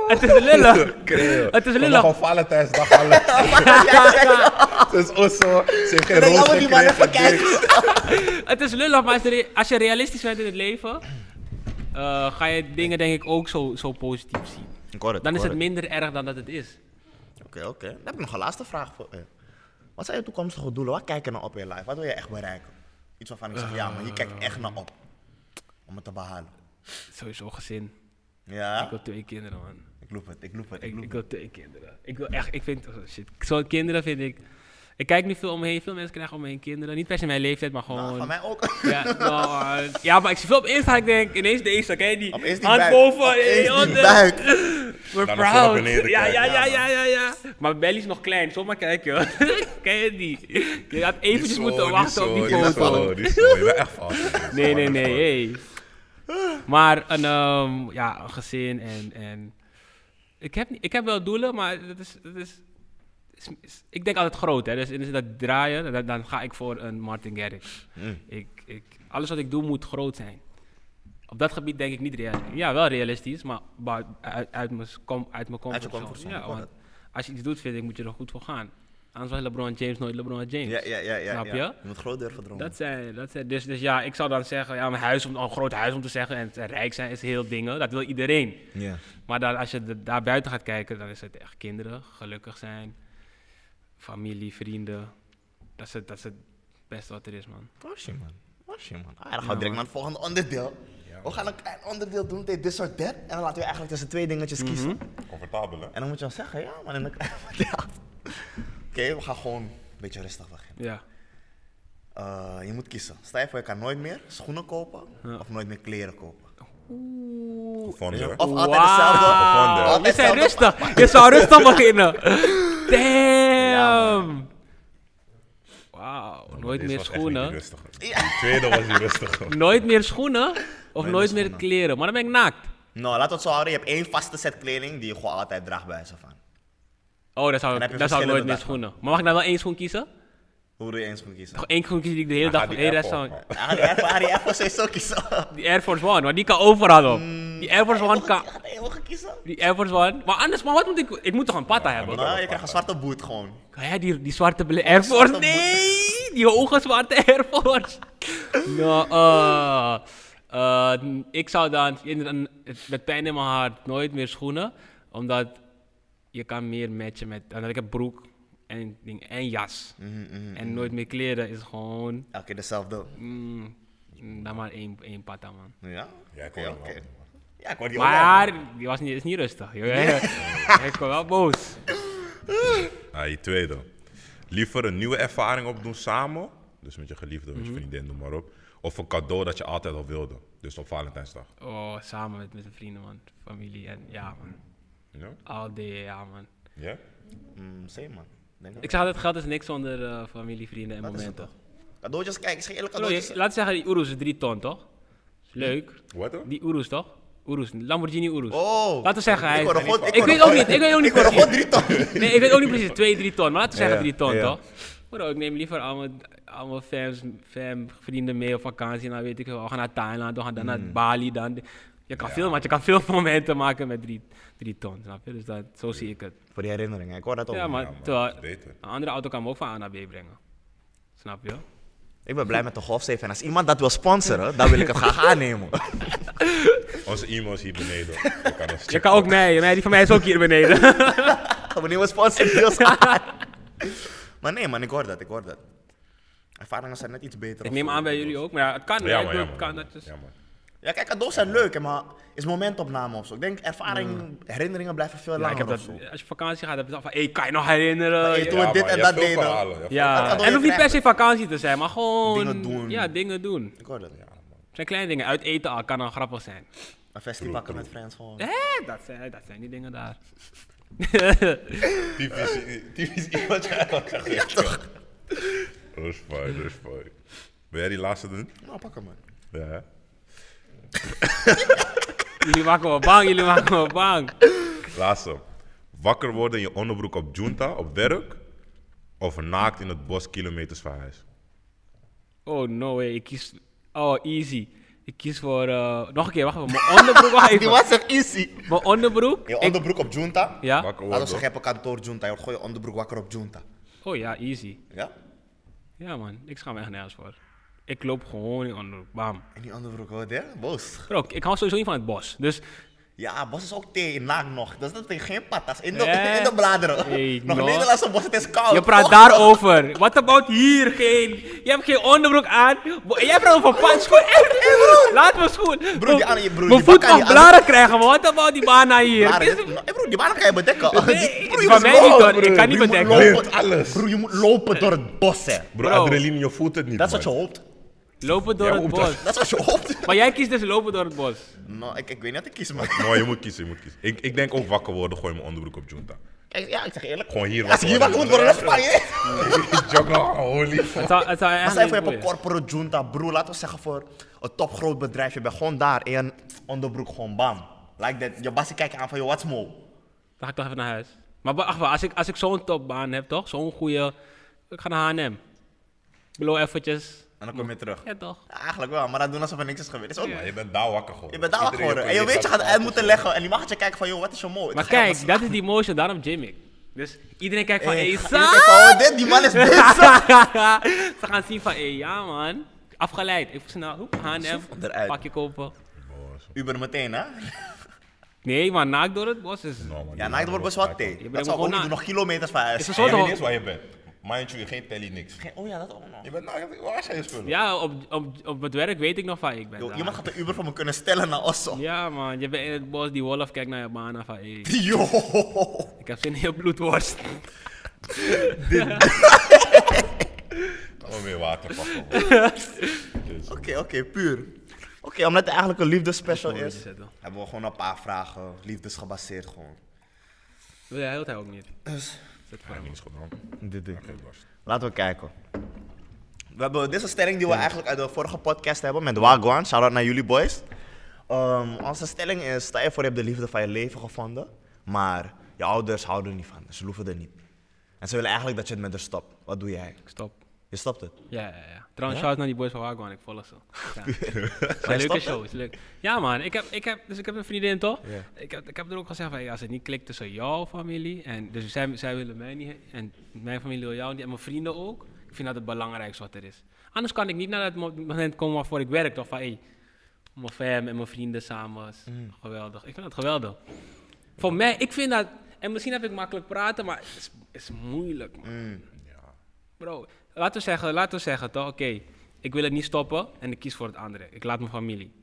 het is lullig.
Kreeuw.
Het is
Kom,
lullig.
Gewoon Valentijnsdag alles. Het is ook zo. Ze heeft geen
Ik
roos
denk, allemaal die mannen
gekregen,
even
niks.
Het is lullig, maar als, de re- als je realistisch bent in het leven, eh, ga je dingen denk ik ook zo, zo positief zien.
Ik hoor het.
Dan
ik
is
hoor
het minder erg dan dat het is.
Oké, oké. Dan heb ik nog een laatste vraag voor je. Wat zijn je toekomstige doelen? Waar kijk je naar op in je life? Wat wil je echt bereiken? Iets waarvan ik zeg, ja, maar hier kijk ik echt naar op. Om het te behalen.
Sowieso gezin.
Ja?
Ik wil twee kinderen, man.
Ik loop het, ik loop het, ik
Ik,
loop
ik
het.
wil twee kinderen. Ik wil echt, ik vind, oh, shit. Zo'n kinderen vind ik. Ik kijk nu veel om me heen. Veel mensen krijgen om me heen kinderen. Niet per se mijn leeftijd, maar
Nou,
gewoon.
van mij ook.
ja, nou, eh, ja, maar ik zie veel op Insta. Ik denk ineens deze, oké? Die
Opeens die
hand
buik.
boven.
Opeens
eh,
die
onder.
buik.
We're
Dan nog zo naar
proud.
beneden
Ja, ja,
kijken.
ja, ja, ja, ja. Maar Belly is nog klein. Zomaar kijken. Ken je die? Je had
Niet
eventjes
dus- zo,
moeten
niet
wachten
zo,
op die
niet
foto.
zo, niet zo. Je bent echt fout.
Nee, nee, nee, hey. Maar een, ehm, ja, een gezin en... en ik, heb, niet- ik heb wel doelen, maar dat is, dat is, is, is- Ik denk altijd groot, hè. Dus in de zin dat draaien, dan, dan ga ik voor een Martin Garrix.
Hmm.
Ik, ik, alles wat ik doe moet groot zijn. Op dat gebied denk ik niet realistisch. Ja, wel realistisch, maar bui- uit, uit, mijn kom- uit mijn comfortzone.
comfortzone, ik
Ja,
hoor
want als je iets doet, vind ik, moet je er goed voor gaan. Anders was LeBron James nooit LeBron James.
Ja, ja, ja, ja.
Snap je?
ja. Je moet groot durven dromen.
Dat zijn, dat zijn dus, dus ja, ik zou dan zeggen, ja, een, huis om, een groot huis om te zeggen en te rijk zijn is heel dingen, dat wil iedereen.
Ja.
Maar dan, als je de- daar buiten gaat kijken, dan is het echt kinderen, gelukkig zijn, familie, vrienden. Dat is het, dat is het beste wat er is, man.
Was je man. Was je man. Ah, dan gaan we direct naar het volgende onderdeel. We gaan een klein onderdeel doen, dit dit soort dat. En dan laten we eigenlijk tussen twee
Mhm.
dingetjes kiezen.
Comfortabel, hè?
En dan moet je dan zeggen, ja man, en dan ja. Oké, we gaan gewoon een beetje rustig beginnen.
Ja.
Eh, je moet kiezen. Stel je voor, je kan nooit meer schoenen kopen of nooit meer kleren kopen.
Gevonden, hoor.
Of altijd
Wauw.
hetzelfde.
Gevonden.
Altijd
Je bent
hetzelfde.
rustig, je zou rustig beginnen. Damn! Wauw.
maar
Nooit
deze
meer
was echt niet die
schoenen.
rustige. Die tweede was die rustige.
Nooit meer schoenen of
meer
nooit meer
schoenen.
kleren. Maar dan ben ik naakt.
Nou, laten we het zo houden. Je hebt één vaste set kleding die je gewoon altijd draagt bij ze van.
Oh, daar zou
Dan heb je
ik, daar zou ik
verschillende
nooit meer
dagen.
schoenen. Maar mag ik nou wel één schoen kiezen?
Hoe doe je één schoen kiezen?
Toch één schoen kiezen die ik de hele dag
gaat
van
die
de rest
Air Force,
zou ik-
Hij gaat die Nou, Air Force- hij gaat die Air Force sowieso kiezen.
Die Air Force One, maar die kan overal op.
Mm.
Die Air Force One kan...
Hij gaat eeuwig kiezen.
Die Air Force One. Maar anders, maar wat moet ik... Ik moet toch een patta hebben?
maar-
Nou, je krijgt een zwarte boot gewoon.
Kan jij die, die zwarte bele- Air Force?
zwarte
Nee! Die hoge zwarte Air Force. nou, eh, eh, ik zou dan in- in- met pijn in mijn hart nooit meer schoenen. Omdat je kan meer matchen met... Dan heb ik een broek en, ding, en jas.
Mhm,
En nooit meer kleren is gewoon...
Elke keer dezelfde.
mm, dan maar één, één patta, man.
Ja?
Ja, ik
Oké,
hoor hem
oké.
wel.
Ja, ik hoor die ook wel.
Maar die was niet, is niet rustig. joh. ik was wel boos.
Ah, je tweede. Liever een nieuwe ervaring opdoen samen, dus met je geliefde, met je
Mhm.
vriendin, noem maar op. Of een cadeau dat je altijd al wilde, dus op Valentijnsdag.
Oh, samen met, met de vrienden, man. Familie en ja, man.
Ja?
All day, ja, man.
Ja?
Mm, Same man. Denk dat.
Ik zeg altijd, geld is niks zonder eh, familie, vrienden en
Dat is het
momenten.
toch. Cadeautjes, kijk, ik zeg eerlijk
Hallo,
cadeautjes.
je- laat zeggen, die Urus is drie ton, toch?
Hm.
Is Leuk.
Wat dan?
Die Urus, toch? Urus, Lamborghini Urus.
Oh.
Laten we zeggen, hij...
Ik hoor een god- ik
ik
hoor
weet
een
ook
god-
niet, ik weet ook niet
Ik hoor
precies.
gewoon drie ton.
Nee, ik weet ook niet precies, twee, drie ton. Maar laten we zeggen
Ja,
drie ton,
ja.
toch? Bro, ik neem liever allemaal, allemaal fans, fam, vrienden mee op vakantie. Nou weet ik wel, we gaan naar Thailand, we gaan dan
Mm.
naar Bali. Dan. Je kan veel, want je kan veel momenten maken met drie, drie ton, snap je? Dus dat, zo zie ik het.
Voor die herinnering, ik hoor dat ook.
Ja, maar,
Oh, Ja, maar
terwijl
dat is beter.
een andere auto kan me ook van A naar B brengen. Snap je?
Ik ben blij met de golfsafe. En als iemand dat wil sponsoren, dan wil ik het graag aannemen.
Onze e-mail is hier beneden. Je kan, ons
Je kan ook mij, mij, die van mij is ook hier beneden.
Wanneer we sponsoren deals aan. Maar nee man, ik hoor dat, ik hoor dat. Ervaringen zijn net iets beter.
ik
of
neem
zo.
aan bij jullie ook, maar ja, het kan.
Ja, man,
ik bedoel,
ja,
het
man.
kan
ja,
dat dus.
man. Ja, man.
Ja, kijk, cadeaus zijn leuk, hè, maar is momentopname of zo. Ik denk ervaring, herinneringen blijven veel
Mm. Ja, ik
langer
heb
of
dat,
zo.
als je op vakantie gaat, heb je dan van, hey, kan je nog herinneren?
Hey,
Ja.
Toen we
Ja,
dit
man,
en
je hebt
dat
veel
deden.
verhalen, je hebt
Dat
Ja,
kan
en
door
het
je
hoeft niet per
krijgen.
se vakantie te zijn, maar gewoon...
Dingen doen.
Ja, dingen doen.
Ik hoor dat.
Het zijn kleine dingen. Uit eten al kan dan grappig zijn.
Een festival met friends gewoon.
Hé, dat zijn, dat zijn die dingen daar.
Typisch, typisch iemand je eigenlijk zegt. Ja, toch? Dat is fijn, dat is fijn. Wil jij die laatste doen?
Nou, pak hem man.
Ja. hè?
Jullie maken me bang, jullie maken me bang.
Laatste. Wakker worden in je onderbroek op Junta, op werk. Of naakt in het bos kilometers van huis.
Oh, no way. Ik kies... Oh, easy. Ik kies voor... eh, Nog een keer, wacht even. Mijn onderbroek, wacht
Die
even.
was echt easy.
Mijn onderbroek?
Je
Ik-
onderbroek op Junta.
Ja?
Wakker
Laten we
worden.
zeggen, je hebt een kantoor Junta. Je gooi je onderbroek wakker op Junta.
Oh ja, easy.
Ja?
Ja man, ik schaam me echt nergens voor. Ik loop gewoon in onderbroek. Bam.
En die onderbroek, hoor je? Boos.
Bro, ik hou sowieso niet van het bos. Dus
Ja, bos is ook thee, naak nog. Dat is dat tegen geen patas. In de,
Eh?
in de bladeren.
Hey,
nog
no.
Nederlandse bos, het is koud.
je praat
Och.
daarover. What about hier? Geen, je hebt geen onderbroek aan. Bo- Jij praat over pantschoen. Eh, Laat me schoen.
Broer, die andere- broer,
Mijn
die
voet
bak aan
mag
die andere-
blaren krijgen. maar What about die bana hier?
Maar,
Dit is-
eh, broer, die baan kan je bedekken.
Nee,
Die-
eh, van
je moet
mij niet,
lopen,
hoor. Ik
broer.
kan niet
Je moet
bedekken.
Leert
lopen-
alles.
Broer, je moet lopen door het bos, eh. hè.
Bro,
Bro.
adrenaline, je voelt het niet,
Dat is wat je
man.
hoopt.
Lopen door
Ja,
het
hoe
bos.
Dat is wat je hoopt.
Maar jij kiest dus lopen door het bos.
Nou, ik, ik weet niet wat ik kies, maar...
Mooi, je moet kiezen, je moet kiezen. Ik, ik denk ook wakker worden, gooi mijn onderbroek op Junta.
Kijk, ja, ik zeg eerlijk.
Gewoon hier
Als je hier wakker moet worden, dan spaar je.
Jogger, holy.
Het zou, het zou
Maar
echt
stel je voor,
niet
je hebt
boeien.
een corporate junta, broer. Laten we zeggen voor een topgroot bedrijf. Je bent gewoon daar in je onderbroek, gewoon bam. Like that. Je bassie kijkt je aan van, yo, what's mo?
Dan ga ik toch even naar huis. Maar wacht wel, als ik, als ik zo'n topbaan heb, toch? Zo'n goede. Ik ga naar HM. Blow eventjes.
En dan kom je terug.
Ja, toch?
Ja, eigenlijk wel, maar dat doen alsof er niks is gebeurd. Is ook
Maar je bent daar wakker geworden.
Je bent daar wakker
Iedereen
geworden. En je
probeert
weet, je
dat
gaat
te
uit moeten
veranderen.
leggen. En die mag je kijken van, joh, wat is je mo?
Maar kijk, dat is die motion, daarom gym ik. Dus iedereen kijkt van, hé,
Hey,
hey,
oh, dit, die man is bezig.
Ze gaan zien van, hé, ja man. Afgeleid. Even snel, hoep, H&M,
eruit.
pakje kopen.
Uber meteen, hè?
Nee, maar naakt door het bos is...
Nou, man,
Ja,
die
naakt wordt best wat
En
thee.
bent
Dat zou ik
gewoon
ook niet
na-
doen, nog kilometers van
Is
huis.
een
Je
soort
weet
van...
niet eens waar je bent. Mind you, geen telly, niks.
Oh ja, dat ook nog.
Je bent naakt, waar zijn je spullen?
Ja, op, op, op het werk weet ik nog van, ik ben
Yo,
daar.
iemand gaat de Uber voor me kunnen stellen naar Osso.
Ja man, je bent in het bos, die wolf kijkt naar je baan van, hé,
Yo.
ik heb zin in je bloedworst.
Oh, weer water pakken. man.
Oké, oké, puur. Oké, omdat het eigenlijk een liefdespecial
Mooi
is,
zetten.
hebben we gewoon een paar vragen. Liefdesgebaseerd gewoon.
Wil jij heel tijd ook niet.
Dus,
Hij heeft niets gedaan.
dit ding.
Geen barst.
Laten we kijken. We hebben, dit is een stelling die we eigenlijk uit de vorige podcast hebben met Wagwan. Shout-out naar jullie boys. Ehm, onze stelling is, stel je voor je hebt de liefde van je leven gevonden, maar je ouders houden er niet van. Ze loeven er niet. En ze willen eigenlijk dat je het met haar stopt. Wat doe jij?
Ik stop.
Je stopt het.
Ja, ja, ja. Trouwens, shout-out naar die boys van Wagwan. Ik volg ze. Ja. Het is
Zij
een leuke
stappen?
show, is leuk. Ja man, ik heb, ik heb, dus ik heb een vriendin toch?
Ja.
Ik, heb, ik heb er ook gezegd van, ja, als het niet klikt tussen jouw familie, en dus zij, zij willen mij niet, en mijn familie wil jou niet, en mijn vrienden ook. Ik vind dat het belangrijkste wat er is. Anders kan ik niet naar het mo- moment komen waarvoor ik werk, toch? Van, hey, mijn fam en mijn vrienden samen, is geweldig. Ik vind dat geweldig. Voor mij, ik vind dat, en misschien heb ik makkelijk praten, maar het is, het is moeilijk man.
Mm.
Bro, laten we zeggen, laten we zeggen toch, oké, ik wil het niet stoppen en ik kies voor het andere. Ik laat mijn familie.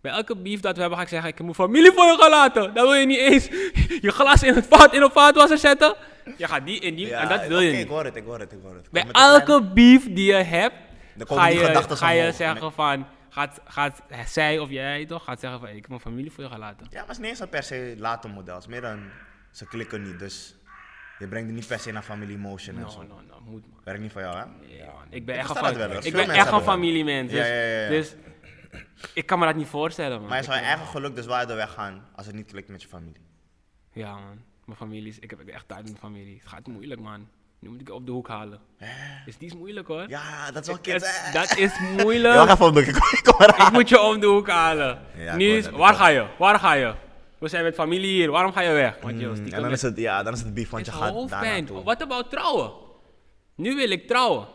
Bij elke beef dat we hebben ga ik zeggen, ik heb mijn familie voor je gelaten. Dan wil je niet eens je glas in het vaat, in een vaatwasser zetten. Je gaat die in die, en dat wil je
oké,
niet.
Ik hoor het, ik hoor het, ik hoor het. Met
Bij
een kleine-
elke beef die je hebt,
Dan komen
ga
die
je,
gedachten
ga je
omhoog.
zeggen van, gaat, gaat zij of jij toch, gaat zeggen van, ik heb mijn familie voor je gelaten.
Ja, maar het is niet eens een per se later model. Het is meer dan ze klikken niet. Dus je brengt het niet per se naar family emotion en
No,
zo.
no, no, moet man.
Werkt niet van jou, hè?
Nee, man. Ik ben echt
versta dat
een,
wel,
fa-
hoor.
ik
Veel
ben
mensen
echt een
hebben dat.
familiemens. Dus,
Ja, ja, ja, ja.
dus ik kan me dat niet voorstellen, man.
Maar je zou je eigen geluk dus wel uit de weg gaan als het niet klikt met je familie.
Ja, man. Mijn familie is... Ik heb echt tijd met mijn familie. Het gaat moeilijk, man. Nu moet ik op de hoek halen. Is die is moeilijk, hoor.
Eh. Ja, dat is wel
Het-
kids. hè?
dat
Ja,
is
wacht
moeilijk.
even, ik kom, ik kom eraan.
ik moet je om de hoek halen.
Ja, ik
nu
hoor
is...
dat, ik
Waar
hoor
ga je? Waar ga je? We zijn met familie hier. Waarom ga je weg? Want joh,
Mm,
stiekem
En dan
met-
is het, ja, dan is het beef, want je
met
gaat daar
hoofdpijn.
naartoe.
Wat about trouwen? Nu wil ik trouwen.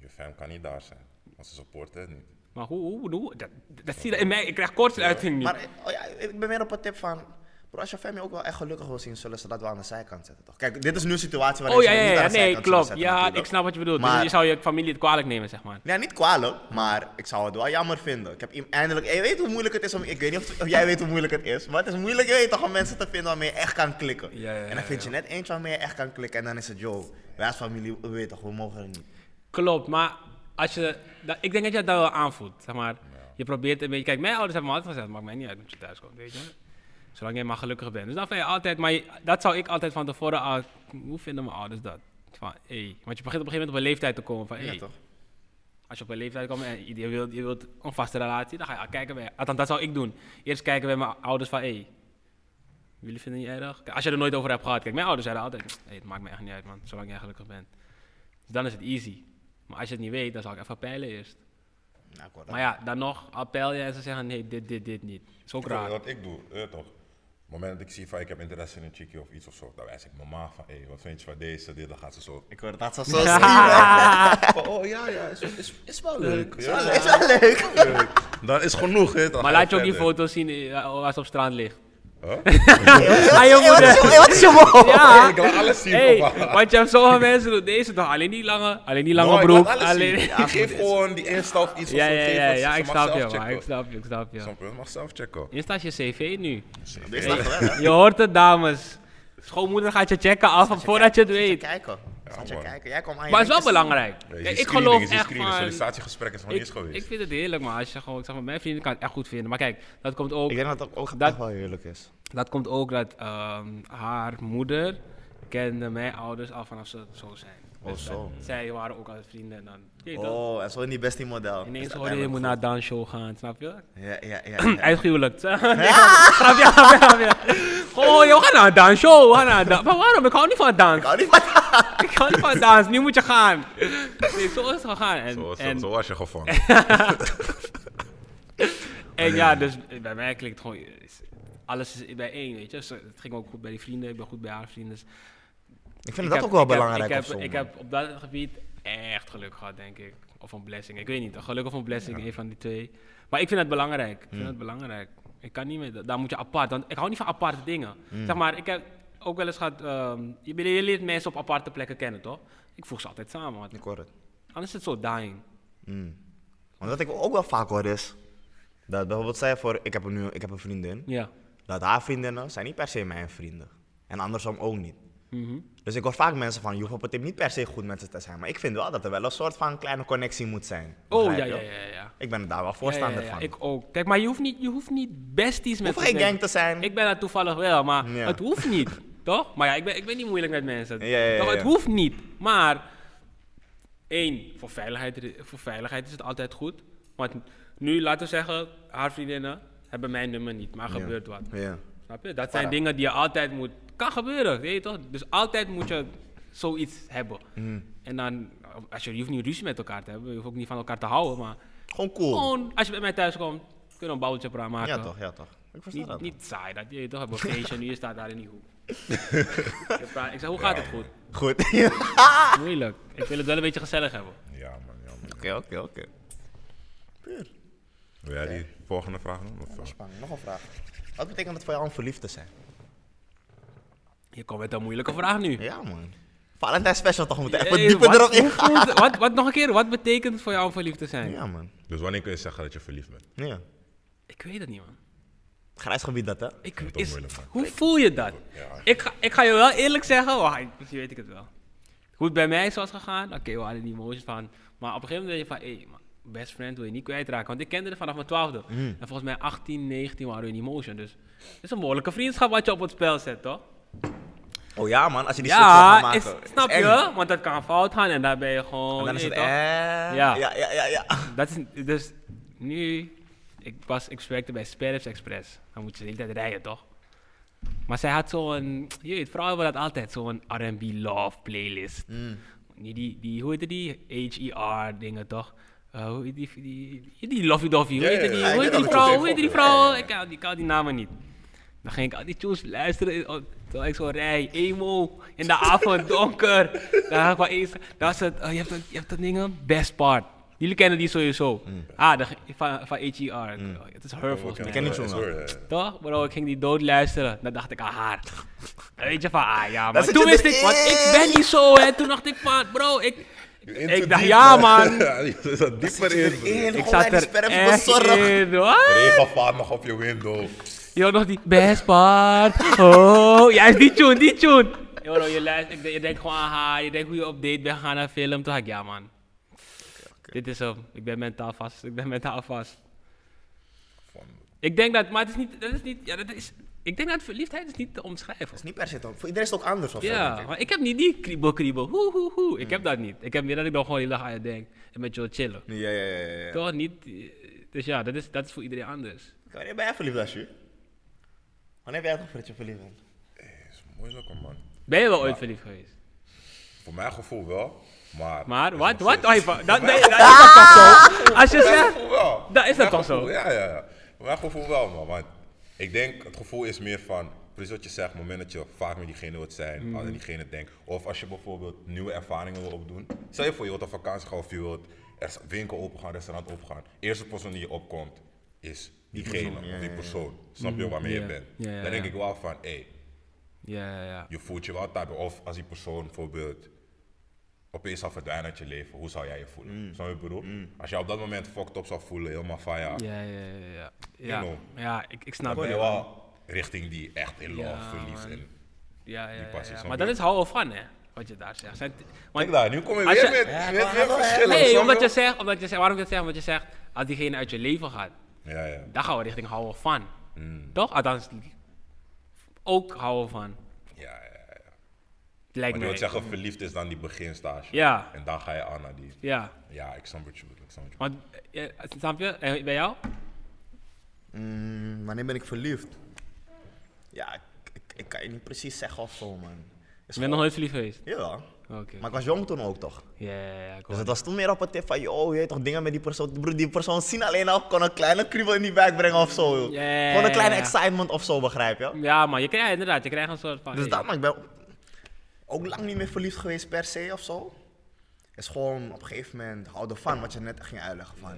Je fam kan niet daar zijn, want ze supporten het niet.
Maar hoe? hoe, hoe dat, dat zie je in mij. Ik krijg kortsluiting nu.
Maar oh ja, ik ben meer op het tip van... Bro, als je family ook wel echt gelukkig wil zien, zullen ze dat wel aan de zijkant zetten, toch? Kijk, dit is nu een situatie waarin
Oh
ze
ja,
het
ja,
niet aan
ja.
de zijkant
Nee,
zullen
klopt.
zetten,
Ja,
natuurlijk.
ik snap wat je bedoelt.
Maar-
Dus je zou je familie het kwalijk nemen, zeg maar.
Ja, niet kwalijk, maar ik zou het wel jammer vinden. Ik heb iem- eindelijk... Je weet hoe moeilijk het is om... Ik weet niet of, of jij weet hoe moeilijk het is, maar het is moeilijk, je weet toch, om mensen te vinden waarmee je echt kan klikken.
Ja, ja,
en
ja,
dan vind je net eentje waarmee je echt kan klikken en dan is het, joh, wij als familie, we weten toch, we mogen er niet.
Klopt, maar als je, dat- ik denk dat je dat wel aanvoelt. Zeg maar, Je probeert een beetje. Kijk, mijn ouders hebben me altijd gezegd: maakt mij niet uit dat je thuis komt, weet je. Zolang jij maar gelukkig bent. Dus dat vind je altijd, maar je- dat zou ik altijd van tevoren al. Hoe vinden mijn ouders dat? Van, hey. Want je begint op een gegeven moment op een leeftijd te komen. Van, hey,
Ja, toch?
als je op een leeftijd komt en je je wilt, je wilt een vaste relatie, dan ga je al kijken bij. Althans, dat zou ik doen. Eerst kijken bij mijn ouders van, hey, jullie vinden het niet erg? Kijk, Als je er nooit over hebt gehad, kijk, mijn ouders zeiden altijd, hey, het maakt me echt niet uit, man, zolang jij gelukkig bent. Dus dan is het easy. Maar als je het niet weet, dan zal ik even peilen eerst.
Nou, ik hoor dat.
Maar ja, dan nog, al peil je en ze zeggen, nee, dit, dit, dit niet. Is ook
Weet je
raar.
Wat ik doe, eh, toch? Op het moment dat ik zie van ik heb interesse in een chickie of iets of zo, dan wijs ik mama van, hé, wat vind je van deze? Dit, dan gaat ze zo.
Ik hoor dat ze zo stiekem.
Van, oh ja, ja, is, is, is wel leuk. Ja,
Is wel leuk.
Dat is genoeg, hè?
Maar laat je ook die foto's zien eh, als ze op straat ligt. Aan
Hey,
je
wat is
moeder.
je- hey, wat is je mol?
Ja,
Ik laat alles zien,
Hey,
papa.
want je hebt sommige mensen doen deze toch alleen die lange, alleen die lange broek, alleen.
Ik geef gewoon die Insta of iets
Ja,
of zo.
ja,
geef
ja,
het,
ja,
ze
ik
mag
snap
zelf
je, maar
checken.
ik snap je, ik snap je.
Snap je? Mag zelf checken.
Insta is je cv nu.
Dit is nog wel, hè?
Je hoort het, dames. Schoonmoeder gaat je checken af van voordat je het
Zat
weet.
kijken. Zat je
man.
kijken. Jij kwam aan je
Maar het is wel
linkjes.
belangrijk.
Ja, je
Kijk, ik
screening
geloof
is je
echt
screening.
van...
Sollicitatiegesprek is nog niet
Ik,
eens geweest.
ik vind het heerlijk, maar als je gewoon... Ik zeg maar, mijn vrienden kan het echt goed vinden. Maar kijk, dat komt ook...
Ik denk dat het ook
Dat-
dat... wel heerlijk is.
Dat komt ook dat ehm, haar moeder kende mijn ouders al vanaf ze zo zijn.
Oh, zo.
dat- zij waren ook al vrienden en dan... Je weet toch?
Oh, en zo in die bestie model.
Ineens
Is
hoorde je, je moet
uiteindelijk
naar een dansshow gaan, snap je?
goed. Ja, ja, ja. ja.
Uitgehuwelijkt. Nee, grapje, grapje, grapje. Oh, joh, we gaan naar een dansshow. We gaan naar een dan- Maar waarom? Ik hou niet van dans.
Hou niet van-
Ik hou niet van dans. Nu moet je gaan. Nee, zo is het gegaan. En,
Zo, zo,
en,
zo was je gevangen.
en ja, dus bij mij klinkt gewoon... is- Alles is bij één, weet je. Dus het ging ook goed bij die vrienden. Ik ben goed bij haar vrienden. Dus
Ik vind
Ik
dat
heb-
ook wel
ik heb-
belangrijk
Ik heb,
of zo,
ik
man.
heb op dat gebied echt geluk gehad, denk ik. Of een blessing. Ik weet niet. Een geluk of een blessing, een van die twee. Maar ik vind het belangrijk. Ik vind
Hmm.
het belangrijk. Ik kan niet meer. da- Daar moet je apart. Want ik hou niet van aparte dingen.
Hmm.
Zeg maar, ik heb ook wel eens gehad. ehm, je, be- je leert mensen op aparte plekken kennen, toch? Ik voeg ze altijd samen. want
Ik hoor het.
Anders is het zo dying.
Want wat ik ook wel vaak hoor is... Dat bijvoorbeeld, zij voor, ik heb, een, nu, ik heb een vriendin.
Ja.
Dat haar vriendinnen zijn niet per se mijn vrienden. En andersom ook niet.
Mhm.
Dus ik hoor vaak mensen van, je hoeft op het tip niet per se goed met ze te zijn. Maar ik vind wel dat er wel een soort van kleine connectie moet zijn.
Oh ja,
Begrijp
ja, ja,
je?
ja. ja.
Ik ben daar wel
Ja, ja,
voorstander
Eh, ja,
van.
Ik ook. Kijk, maar je hoeft niet, je hoeft niet besties met
Hoeft geen
zijn.
gang te zijn.
Ik ben dat toevallig wel, maar
Ja.
het hoeft niet. toch? Maar ja, ik ben, ik ben niet moeilijk met mensen.
Ja, ja, ja,
toch?
ja.
Het hoeft niet. Maar één, voor veiligheid, voor veiligheid is het altijd goed. Want nu, laten we zeggen, haar vriendinnen hebben mijn nummer niet, maar gebeurt wat.
Ja.
Snap je? Dat zijn dingen die je altijd moet. Kan gebeuren, weet je toch? Dus altijd moet je zoiets hebben.
Mhm.
En dan, als je, je hoeft niet ruzie met elkaar te hebben, je hoeft ook niet van elkaar te houden, maar
Gewoon cool.
gewoon als je bij mij thuis komt, kunnen we een bouwtje praat maken.
Ja toch, ja toch. Ik versta
Niet,
dat.
niet saai dat je toch hebt een feestje en nu je staat daar in die hoek. ik, praat- ik zei, hoe gaat het goed?
Goed.
Moeilijk. Ik wil het wel een beetje gezellig hebben.
Ja, man, ja, man.
Oké, oké, oké. Puur.
Wil jij die volgende vraag doen? Of, eh?
Spannend, nog een vraag. Wat betekent het voor jou om verliefd te zijn?
Je komt met een moeilijke vraag nu.
Ja man. Valentijn special toch, we moeten echt wat
Eh,
dieper
wat-
erop in
hoe
gaan.
voelt- wat, wat nog een keer, wat betekent het voor jou om verliefd te zijn?
Ja man.
Dus wanneer kun je zeggen dat je verliefd bent?
Ja.
Ik weet het niet, man.
Grijs gebied dat hè?
Ik,
is ook
is,
moeilijk, man.
hoe voel je dat? Ik, ga, ik ga je wel eerlijk zeggen, oh, ik- misschien weet ik het wel. Hoe het bij mij was gegaan, oké, we hadden die emoties van. Maar op een gegeven moment denk je van, hé, man, best friend wil je niet kwijtraken. Want ik kende het vanaf mijn twaalfde.
Mm.
En volgens mij 18, 19 waren we in emotion. Dus het is een behoorlijke vriendschap wat je op het spel zet, toch?
Oh ja man, als je die shit zo gaat
Ja,
maken.
is-
is
snap
eng.
je? Want dat kan fout gaan en daar ben je gewoon...
En dan is
je
het
weet toch?
eh.
Ja.
Ja, ja, ja, ja.
Ah.
Dat is, dus nu, ik, was, ik werkte bij Sperps Express. Dan moet je de hele tijd rijden, toch? Maar zij had zo'n, je weet, vrouwen hebben dat altijd, zo'n R&B love playlist.
Mm.
Die, die, die, hoe heette die? H.E.R. dingen, toch? Eh, hoe heet die, die, die, die Lovey Dovey, hoe
Ja,
heette
ja,
die,
ja,
hoe
ik
heette die
weet
vrouw,
het.
hoe heette die vrouw? Oh, Ik kan, ik kan die namen niet. Dan ging ik al die tunes luisteren, eh, oh, terwijl ik zo rij, emo, in de avond, donker. Dan had ik wel eens, dan was het, eh, je hebt dat, je hebt dat ding, eh, best part. Jullie kennen die sowieso. Ah, dan ging- van, van H.E.R. Het Oh, is her volgens mij.
Mm. ken niet zo'n
Sorry, eh.
Toch? Bro, ik ging die dood luisteren. Dan dacht ik aan haar. Dan Weet je van, ah ja, maar
zit
toen
je
wist ik, want ik ben niet zo, hè. Toen dacht ik van, bro, ik... Ik dacht, ja man.
Je zat dieper in.
Ik
Ik
zat
zat
die
er
sperm
echt
bezorgd.
in, hoor.
Regenvaart nog op je window.
Je had nog die best part. Oh, ja, is die tune, die tune. Yo, bro, je luistert, ik- je denkt gewoon aan haar. Je denkt hoe je op date bent gaan naar film. Toen dacht ik, ja man. Dit is hem. Ik ben mentaal vast. Ik ben mentaal vast. Ik denk dat, maar het is niet, dat is niet, ja, dat is, ik denk dat verliefdheid is niet te omschrijven.
Is niet per se toch. Voor iedereen is het ook anders of zo, denk
Ja,
ik.
maar ik heb niet die kriebel kriebel. Hoe, hoe, hoe. Ik
Mm.
heb dat niet. Ik heb meer dat ik dan gewoon de hele dag aan je denk. En met je wil chillen.
Ja, ja, ja, ja, ja.
Toch niet. eh, Dus ja, dat is, dat is voor iedereen anders.
Wanneer ben jij verliefd, Asje? Wanneer ben jij toch voor dat je verliefd bent?
Is moeilijk, man.
Ben je wel ooit verliefd geweest?
Voor mijn gevoel wel, maar...
Maar
is nog
wat, wat?
steeds-
Oh, je- dat, dat,
Voor mijn
dat is dat toch zo? Als je
voor mijn
zegt...
gevoel wel.
Dat is
Voor
dat
mijn
toch zo?
gevoel, Ja, ja, ja. Voor mijn gevoel wel, man. Want ik denk, het gevoel is meer van... Precies wat je zegt, het moment dat je vaak met diegene wilt
Mm.
zijn, aan diegene denkt. Of als je bijvoorbeeld nieuwe ervaringen wil opdoen. Stel je voor, je wilt op vakantie gaan of je wilt er is winkel open gaan, restaurant open gaan. Eerste persoon die je opkomt is diegene, of die persoon. Snap je waarmee
Mm-hmm. Ja.
je bent?
Ja, ja,
Dan denk
ja.
ik wel van, hé,
Ja, ja, ja.
je voelt je wel type. Of als die persoon bijvoorbeeld opeens zou verdwijnen uit je leven, hoe zou jij je voelen? Snap je wat ik bedoel? Als jij op dat moment fucked up zou voelen, helemaal van Mm. ja,
Ja, ja, ja, ja. Ja,
know.
ja ik, ik snap
ben
het.
je
Ja,
wel richting die echt in love
Ja,
verliefd
man.
in.
ja, ja,
passie
ja.
snap
Maar
je.
dat is houden van, hè. Wat je daar zegt. Zijn- want-
Kijk daar, nu kom je
Als
weer
je-
met, met, met verschillen. snap
Nee,
je
omdat je
wel?
zegt... Omdat je zegt waarom ik dat zeg? Omdat je zegt... Als diegene uit je leven gaat...
Ja, ja.
Daar gaan we richting houden van.
Mm.
Toch? Althans, ook houden van.
ja, ja, ja.
Lijkt
Maar je
mij.
wilt zeggen, verliefd is dan die beginstage.
Ja.
En dan ga je aan naar die...
Ja,
Ja, ik snap wat je bedoelt, ik snap wat je
want, eh, eh, snap je? En bij jou?
Mm, wanneer ben ik verliefd? Ja, ik, ik, ik kan je niet precies zeggen of zo, man. Is
Je bent nog nooit verliefd geweest?
Jawel.
Oké.
Maar ik was jong toen ook toch?
Ja, ja, ja.
Dus
ik hoor.
het was toen meer op het tip van, joh, je weet toch dingen met die persoon. Broer, die persoon zien alleen al, kon een kleine kriebel in die buik brengen of zo. joh.
Ja, ja, ja,
Gewoon een kleine
ja.
excitement of zo, begrijp je?
Ja, maar je krijgt inderdaad, je krijgt een soort van...
Dus
hey.
dat, maar ik ben ook lang niet meer verliefd geweest per se of zo. Is gewoon op een gegeven moment houden van wat je net ging uitleggen van.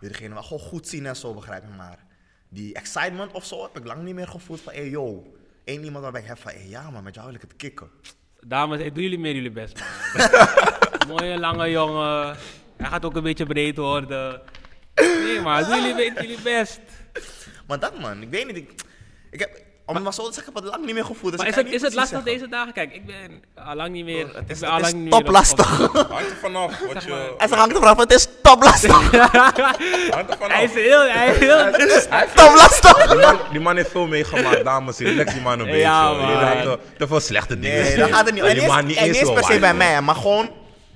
Wil diegene wel gewoon goed zien en zo begrijp je maar. Die excitement of zo heb ik lang niet meer gevoeld van, hé hey, yo. Eén iemand waarbij ik heb van, hé hey, ja man, met jou wil ik het kicken.
Dames, ik doe jullie meer jullie best, man. Mooie, lange jongen. Hij gaat ook een beetje breed worden. Nee, maar doe jullie, be- jullie best.
Maar dat man, ik weet niet. Ik, ik heb, om het maar zo te zeggen, ik heb het lang niet meer gevoeld. Dus
Maar
ik
is
kan
het,
niet
is het
precies
lastig
zeggen. Oh,
deze dagen? Kijk, ik ben al lang niet meer...
Het is,
ik ben al
het is
lang niet meer op-
toplastig.
bedoelt. Hangt er vanaf wat je...
En ze hangt er vanaf, het is toplastig.
Hangt er vanaf.
Hij is heel, hij is heel...
Het is toplastig.
Die man, die man heeft veel meegemaakt, dames. Relax die man een beetje.
Ja,
hoor. Je
man.
laat, eh, te veel slechte dingen
Nee,
zien.
dat gaat er niet.
En
En
die man
niet,
niet
en
eens
niet
wil
per se bij
waaien.
mij, maar gewoon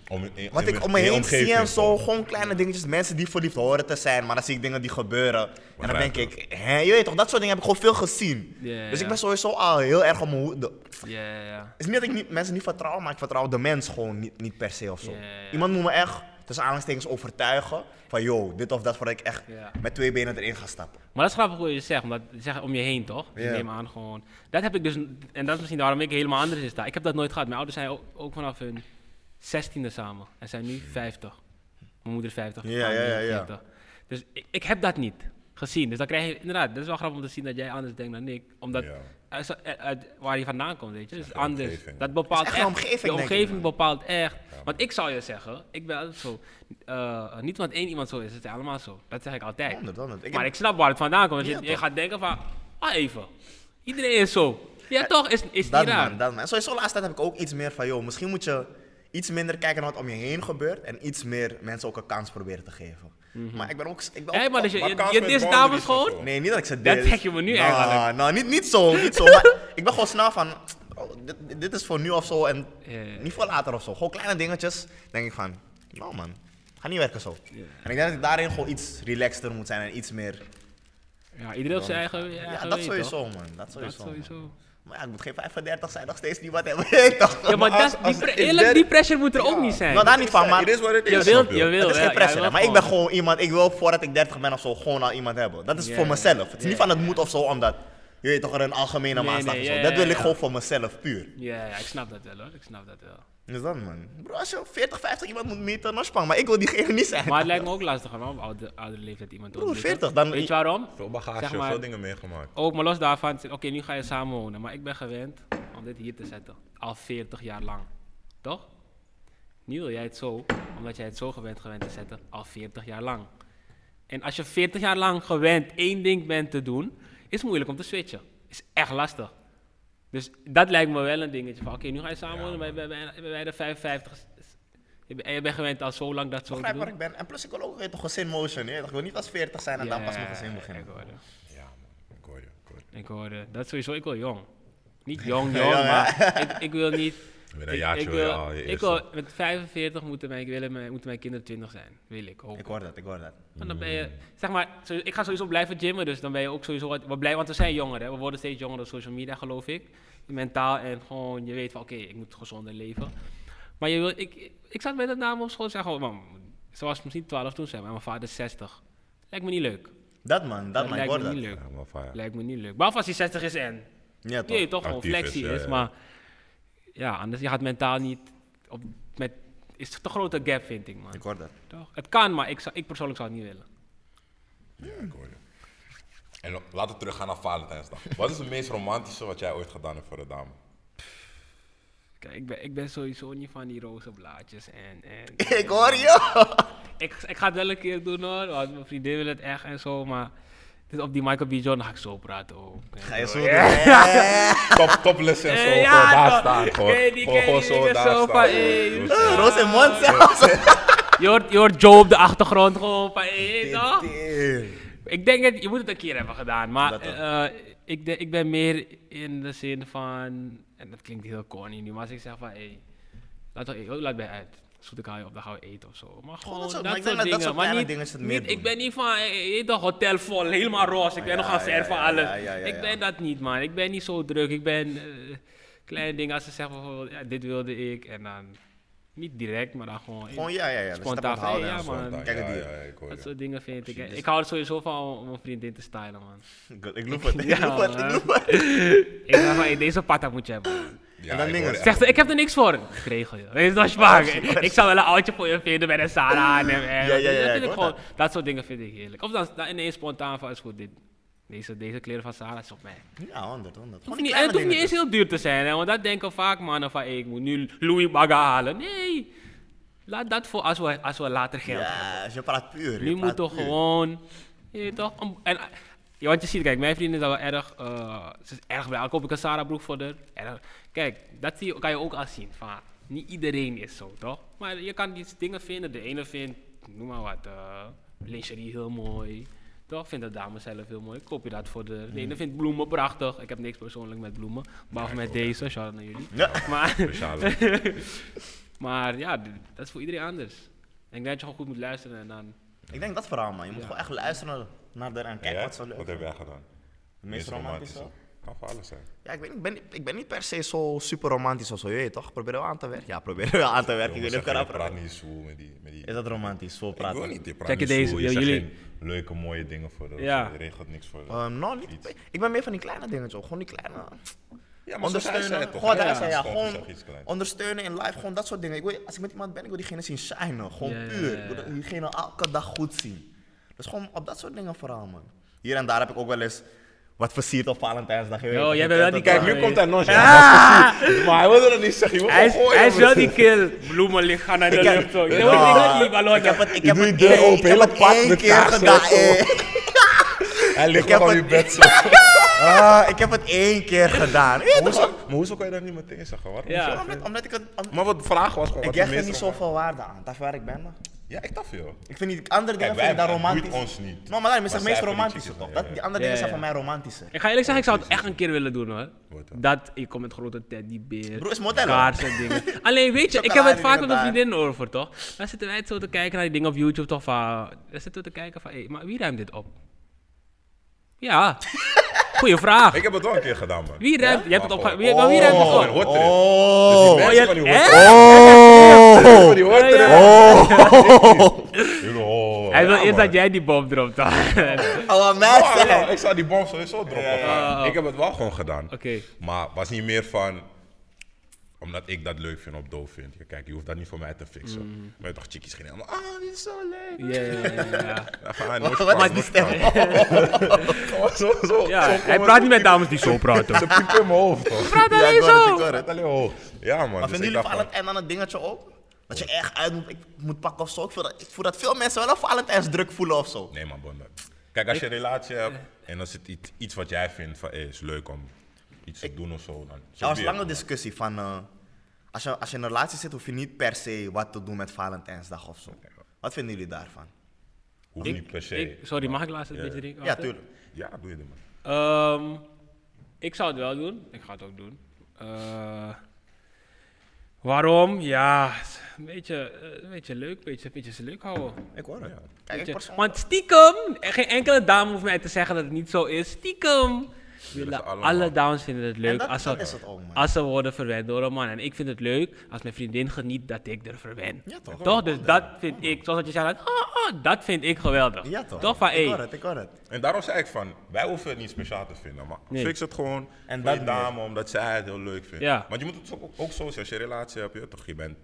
Om, in,
Wat
in-
ik om me
in je
heen
omgeving
zie en zo,
gewoon.
gewoon kleine dingetjes. Mensen die verliefd horen te zijn, maar dan zie ik dingen die gebeuren. En dan
Begrijp
denk ik, hè, je weet toch, dat soort dingen heb ik gewoon veel gezien.
Ja,
dus
ja.
ik ben sowieso al heel erg om mijn hoede. Het
Ja, ja, ja.
is niet dat ik niet, mensen niet vertrouw, maar ik vertrouw de mens gewoon niet, niet per se of zo.
Ja, ja, ja.
Iemand moet me echt, tussen aanhalingstekens, overtuigen van, yo, dit of dat, voordat ik echt
Ja.
met twee benen erin ga stappen.
Maar dat is grappig hoe je zegt, omdat je zegt om je heen toch? Ik
Ja.
neem aan gewoon. Dat heb ik dus, en dat is misschien waarom ik helemaal anders is daar. Ik heb dat nooit gehad. Mijn ouders zijn ook, ook vanaf hun 16e samen en zijn nu 50. Mijn moeder 50.
Ja,
mijn
ja,
moeder
ja, ja.
40. Dus ik, ik heb dat niet gezien. Dus dan krijg je inderdaad, dat is wel grappig om te zien dat jij anders denkt dan ik. Omdat
Ja.
uit, eh, uit waar je vandaan komt, weet je. Dus
de
anders.
omgeving.
Dat bepaalt
echt
echt.
de omgeving,
de
denk ik,
omgeving
man.
bepaalt echt. Want ik zou je zeggen, ik ben altijd zo. eh, niet want één iemand zo is, het is allemaal zo. Dat zeg ik altijd.
Honderd, honderd. Ik
maar
heb-
ik snap waar het vandaan komt. Dus
Ja,
je, je
toch?
gaat denken van, ah even, iedereen is zo. Ja toch, is, is
Dat
niet raar.
man, dat man. En sowieso de laatste tijd heb ik ook iets meer van, joh, misschien moet je iets minder kijken naar wat om je heen gebeurt en iets meer mensen ook een kans proberen te geven. Maar ik ben ook... Ik ben
Mhm. Hé,
ook-
maar dus je,
maar
je,
kans
je
met
dist
boundaries
dames
en
gewoon?
zo.
Nee, niet dat ik ze
Dat
dis.
zeg je me nu
Nou,
eigenlijk.
Nou, niet, niet zo, niet zo. maar ik ben gewoon snel van, oh, dit, dit is voor nu of zo en
Ja, ja, ja.
niet voor later of zo. Gewoon kleine dingetjes, denk ik van, nou man, ga niet werken zo. En ik denk dat ik daarin gewoon iets relaxter moet zijn en iets meer...
Ja, iedereen op zijn eigen, eigen
Ja, dat
weet, toch?
sowieso man, dat sowieso.
Dat
man.
sowieso.
Maar ja, ik moet geen 35 zijn, nog steeds niet wat hebben, weet toch?
Ja, maar
Maar als-
dat, die,
als
pre-
het is
eerlijk,
derde-
die pressure moet er ook niet zijn.
Nou, daar niet van, maar...
It is what it is.
je wilt,
snap
je wil.
Het is
wel,
geen
ja,
pressie,
je wil
maar ik ben
gewoon-
gewoon iemand, ik wil voordat ik 30 ben of zo, gewoon al iemand hebben. Dat is
Ja,
voor
ja.
mezelf. Het is
Ja,
niet van het moet of zo, omdat, je weet toch, er een algemene
Nee,
maatstaf
nee,
is. of zo.
ja,
dat
ja,
wil ik
ja.
gewoon voor mezelf, puur.
Ja, ja, ik snap dat wel hoor, ik snap dat wel.
Dus dan man. Bro, als je 40, 50 iemand moet meten, dan spang, maar ik wil diegene niet zijn.
Maar het lijkt me ook lastig om op oude, oudere leeftijd iemand te
Broer,
ontmoeten.
40, dan-
Weet je waarom?
Veel bagage,
Zeg maar-
veel dingen meegemaakt.
Ook, Oh, maar los daarvan, oké, nu ga je samen wonen. Maar ik ben gewend om dit hier te zetten. Al 40 jaar lang. Toch? Nu wil jij het zo, omdat jij het zo gewend gewend te zetten. Al 40 jaar lang. En als je 40 jaar lang gewend één ding bent te doen, is het moeilijk om te switchen. Is echt lastig. Dus dat lijkt me wel een dingetje van, oké, nu ga je samen wonen bij, bij, bij, bij de 55. Je bent- En je bent gewend al zo lang dat zo te
begrijp waar
doen.
ik ben. En plus, ik wil ook weet toch, gezin motion. Je weet toch, Ik wil niet als 40 zijn en dan pas mijn gezin beginnen.
Ik hoorde,
Ja, man. Ik hoor je. Ik hoor je.
ik hoorde. Dat sowieso, ik wil jong. Niet jong,
Ja,
jong,
ja.
maar ik, ik wil niet...
Met een
Ik,
jaartje
ik
wil je
wil,
al je
ik
eerste.
wil met 45 moeten mijn, willen mijn, moeten mijn kinderen 20 zijn. Wil ik ook.
Ik hoor dat, ik hoor dat.
Want dan ben je,
Mm.
zeg maar, zo- ik ga sowieso blijven gymmen, dus dan ben je ook sowieso wat, wat blij, want we zijn jonger, hè. we worden steeds jonger op social media, geloof ik. Mentaal en gewoon, je weet van, oké, ik moet gezonder leven. Maar je wil, ik, ik zat met een naam op school en zei gewoon, man, ze was misschien 12 toen, zeg maar, en mijn vader is 60. Lijkt me niet leuk.
Dat man, dat, man, ik
lijkt
hoor
me
dat.
niet leuk.
Ja, maar fijn.
Lijkt me niet leuk. Behalve als hij 60 is en
Ja
Nee,
toch.
toch gewoon
Actief is,
flexie is,
ja, ja.
maar ja, anders je gaat mentaal niet op met is te grote gap vind ik man.
Ik hoor dat.
Toch? Het kan, maar ik, zou, ik persoonlijk zou het niet willen.
Ja, ik hoor je. En lo- laten we teruggaan naar Valentijnsdag. Wat is het meest romantische wat jij ooit gedaan hebt voor een dame?
Kijk, ik ben, ik ben sowieso niet van die roze blaadjes en, en
Ik hoor je.
ik, ik ga het wel een keer doen hoor, want mijn vriendin wil het echt en zo, maar dus op die Michael B. Jordan ga ik zo praten ook.
Ga je zo doen. Eh,
Top, topless en zo,
Eh,
gewoon daar
toch.
staan. Gewoon,
Ken je die-
gewoon,
ken
gewoon
je die
zo
dingen
daar
zo
staan.
van, eh,
Gewoon
eh,
zo.
Roos in mond zelfs.
Je hoort, je hoort Joe op de achtergrond gewoon van, hé, toch?
Tering.
Ik denk dat je moet het een keer hebben gedaan, maar
Dat wel.
eh, ik, de- ik ben meer in de zin van, en dat klinkt heel corny nu, maar als ik zeg van, hé, laat toch, oh, laat bij uit. Zoet ik je op, dan gaan we eten of zo. Maar gewoon
dat
dat,
soort- maar ik denk
soort
dat dat
dingen.
soort
maar
kleine
niet,
dingetjes het
niet-
meer doen.
ik ben niet van, hé, hé, hé, toch hotel vol, helemaal roze. Ik ben nog aan
ja,
ver van
ja,
alles.
ja, ja, ja,
ik
ja.
ben dat niet, man. Ik ben niet zo druk. Ik ben eh, kleine dingen. Als ze zeggen bijvoorbeeld, ja, dit wilde ik, en dan niet direct, maar dan gewoon.
Gewoon ja, ja, ja. Dus dat
Spontaan.
moet houden
Ja,
en zo.
man.
Daar,
Kijk
ja,
het hier.
ja, ik hoor
Dat
je.
soort dingen vind ik. eh,
dus-
Ik hou er sowieso van om- om een vriendin te stylen, man.
Ik- Ik loop het, ik
Ja,
loop het, ik
man.
loop het.
Ik dacht van, hey, deze patta moet je hebben. man.
Ja,
En dan
ik
dingen.
hoor je.
Zegt ze, ik heb er niks voor. Ik regel je. Weet je, dat is waar. Ik zou wel een oudje voor je vinden bij een Sarah aan hem. En
Ja, ja, ja,
dat,
ik
vind ik
hoor
gewoon,
dat.
dat soort dingen vind ik heerlijk. Of dan, dan ineens spontaan van, is goed, dit, deze, deze kleren van Sarah is op mij.
Ja, 100, 100.
Hoeft niet, en het hoeft niet eens heel duur te zijn, hè, want dat denken vaak mannen van, hey, ik moet nu Louis Bagga halen. Nee, laat dat voor als we, als we later geld
Ja, je praat puur. je
Nu moet
praat
toch
puur.
gewoon. Je weet toch? om- En, eh, ja, want je ziet, kijk, mijn vriendin is al wel erg. eh, ze is erg wel. Koop ik een Sarah broek voor haar. Erg. Kijk, dat zie, je- kan je ook al zien. Van, niet iedereen is zo, toch? Maar je kan die dingen vinden. De ene vindt, noem maar wat, eh, lingerie heel mooi. Toch? Vindt de dame zelf heel mooi. Koop je dat voor de. De ene vindt bloemen prachtig. Ik heb niks persoonlijk met bloemen. Behalve met deze, shout out naar jullie.
Ja.
Maar.
Speciale.
Maar ja, d- dat is voor iedereen anders. En ik denk dat je gewoon goed moet luisteren en dan...
Ik denk dat vooral, man. Je moet gewoon echt luisteren naar haar en kijken
Jij?
wat ze leuk
Wat heb jij gedaan?
meest romantische?
Kan voor alles zijn.
Ja, ik, ben, ik, ben, niet- ik ben niet per se zo super romantisch of zo, je weet toch? Probeer wel aan te werken. Ja, probeer wel aan te werken. Ik
Jongens,
weet
zeg,
niet of ik
je
eraan
praat
praat.
niet zo met die... Met die
Is dat romantisch? Zo
ik
praten.
wil niet, je praat
Check
niet
deze,
zo, je
joh,
zegt
jullie-
geen leuke mooie dingen voor de,
Ja.
je regelt niks voor de-
Ehm, nou, niet.
iets.
Ik ben meer van die kleine dingen, joh. Gewoon die kleine.
Ja, maar zoals hij
Ondersteunen.
zei toch?
Gewoon,
hè?
daar zei, ja,
Stop,
gewoon
zeg iets kleins.
ondersteunen in live, gewoon dat soort dingen. Ik wil, als ik met iemand ben, ik wil diegene zien shinen. Gewoon
Ja, ja,
puur.
ja,
Ik wil
ja.
diegene elke dag goed zien. Dus gewoon op dat soort dingen vooral, man. Hier en daar heb ik ook wel eens wat versierd op Valentijnsdag. je weet
Yo,
toch?
Oh, jij
Ik
bent wel
heb
die
dat
kijk,
wel.
nu komt
daar nog Maar hij wilde dat niet zeggen. Je
Hij is, hij is wel die kill. Bloemen liggen naar de
Ik heb-
lucht. zo. Ik denk,
Ja.
wat ik dat liep, hallo,
Ik heb het, ik heb
doe
het
je deur
één-
open,
ik heb
hele
het
pad
één
met
keer
kaarsen
gedaan.
of zo.
eh.
Hij ligt
heb
nog aan
het-
je bed zo.
Ah, ik heb het één keer gedaan. Je weet toch?
Hoezo- Maar hoezo kan je daar niet meteen zeggen? Waarom
Ja.
zo?
Omdat, omdat ik het. om-
Maar wat de vraag was gewoon...
ik
wat
hecht
de
er
meest
niet
roman-
zoveel waarde aan. Dat is waar ik ben. man.
Ja, ik dacht veel.
Ik vind die
Kijk,
andere dingen vind
wij
ik daar
dat
romantisch.
boeit ons niet.
Maar, maar daarom is
Maar
het meest
zij voor die
romantische
chickies dan,
toch? Dat,
ja, ja.
die andere
Ja,
dingen zijn
ja.
voor mij romantischer.
Ik ga eerlijk zeggen, ik zou het echt een keer willen doen hoor.
Wordt dan.
Dat, ik kom met grote teddybeer,
Bro, is model, hoor.
kaarsen en dingen. Alleen weet je, ik heb
Chocolade
het vaak met
dingen
een
daar.
vriendin over toch? Dan zitten wij zo te kijken naar die dingen op YouTube toch van... Dan zitten we te kijken van, hé, maar wie ruimt dit op? Ja, goeie vraag.
Ik heb het wel een keer gedaan, man.
Wie ruimt, je hebt het
Wacht,
opge... Wie, maar wie ruimt
Oh,
het
je
op?
hoort erin.
Oh.
Dus die
Oh,
mensen
je-
van die
hè?
hoort erin. Die hoort erin. Jullie, oh,
Hij wil
ja,
eerst
man.
dat jij die bom dropt dan.
Oh,
Oh,
mensen.
nou, ik zou die bom sowieso droppen. maar Ik heb het wel gewoon gedaan.
Oh. Oké.
Maar was niet meer van omdat ik dat leuk vind of doof vind. Ja, Kijk, je hoeft dat niet voor mij te fixen.
Mm.
Maar je toch chickies geen helemaal. Ah, dit is zo leuk.
Ja, ja, ja, ja, ja.
Ja, van, ah, nooit
Wat- Wat maakt
praten,
die
nooit
stem?
praten. Oh, zo, zo,
Ja,
zo
hij
kom-
praat niet met dames die zo praten.
Ze piepen in mijn hoofd. Toch?
Praat
Ja, ik
alleen
hoor het, ik
zo!
hoor
Praat
het.
alleen hoog. Ja, man.
Maar
dus ik
vinden jullie
dacht van,
Valentijn dan een dingetje ook? Dat je echt uit moet, ik moet pakken of zo? Ik voel, dat, ik voel dat veel mensen wel een Valentijnsdruk voelen of zo.
Nee, man, Bonda. Kijk, als je een relatie hebt en als het iets, iets wat jij vindt van, hey, is leuk om iets te doen of zo, dan.
Er was
probeer
een
het,
lange
man.
discussie van. eh, als, je, als je in een relatie zit, hoef je niet per se wat te doen met Valentijnsdag of zo. Wat vinden jullie daarvan?
Hoeft niet per se.
Ik- sorry, mag ik laatst een
Ja.
beetje drinken?
Ja,
Water?
tuurlijk.
Ja, doe je dit, man.
Ehm, ik zou het wel doen. Ik ga het ook doen. Eh, waarom? Ja, een beetje, eh, een beetje leuk, een beetje, een beetje leuk houden.
Ik hoor het.
Ja.
Kijk, ik
Beetje-
persoonlijk.
Want stiekem, eh, geen enkele dame hoeft mij te zeggen dat het niet zo is. Stiekem willen
allemaal.
alle dames vinden het leuk
dat-
als,
dat
ze,
is het ook, man.
als ze worden verwend door een man. En ik vind het leuk als mijn vriendin geniet dat ik er verwen.
Ja, toch?
Dus dat vind ik, zoals dat je zei, dat, ah, ah, dat vind ik geweldig.
Ja, toch?
Toch van,
ik hoor
hey,
het, ik hoor het.
En daarom zei ik van, wij hoeven het niet speciaal te vinden, maar
Nee.
fix het gewoon
En
en
dat
dat die dame, omdat zij het heel leuk vindt.
Ja.
Want je moet het zo- ook, ook zo zien, als je een relatie hebt, je, toch, je bent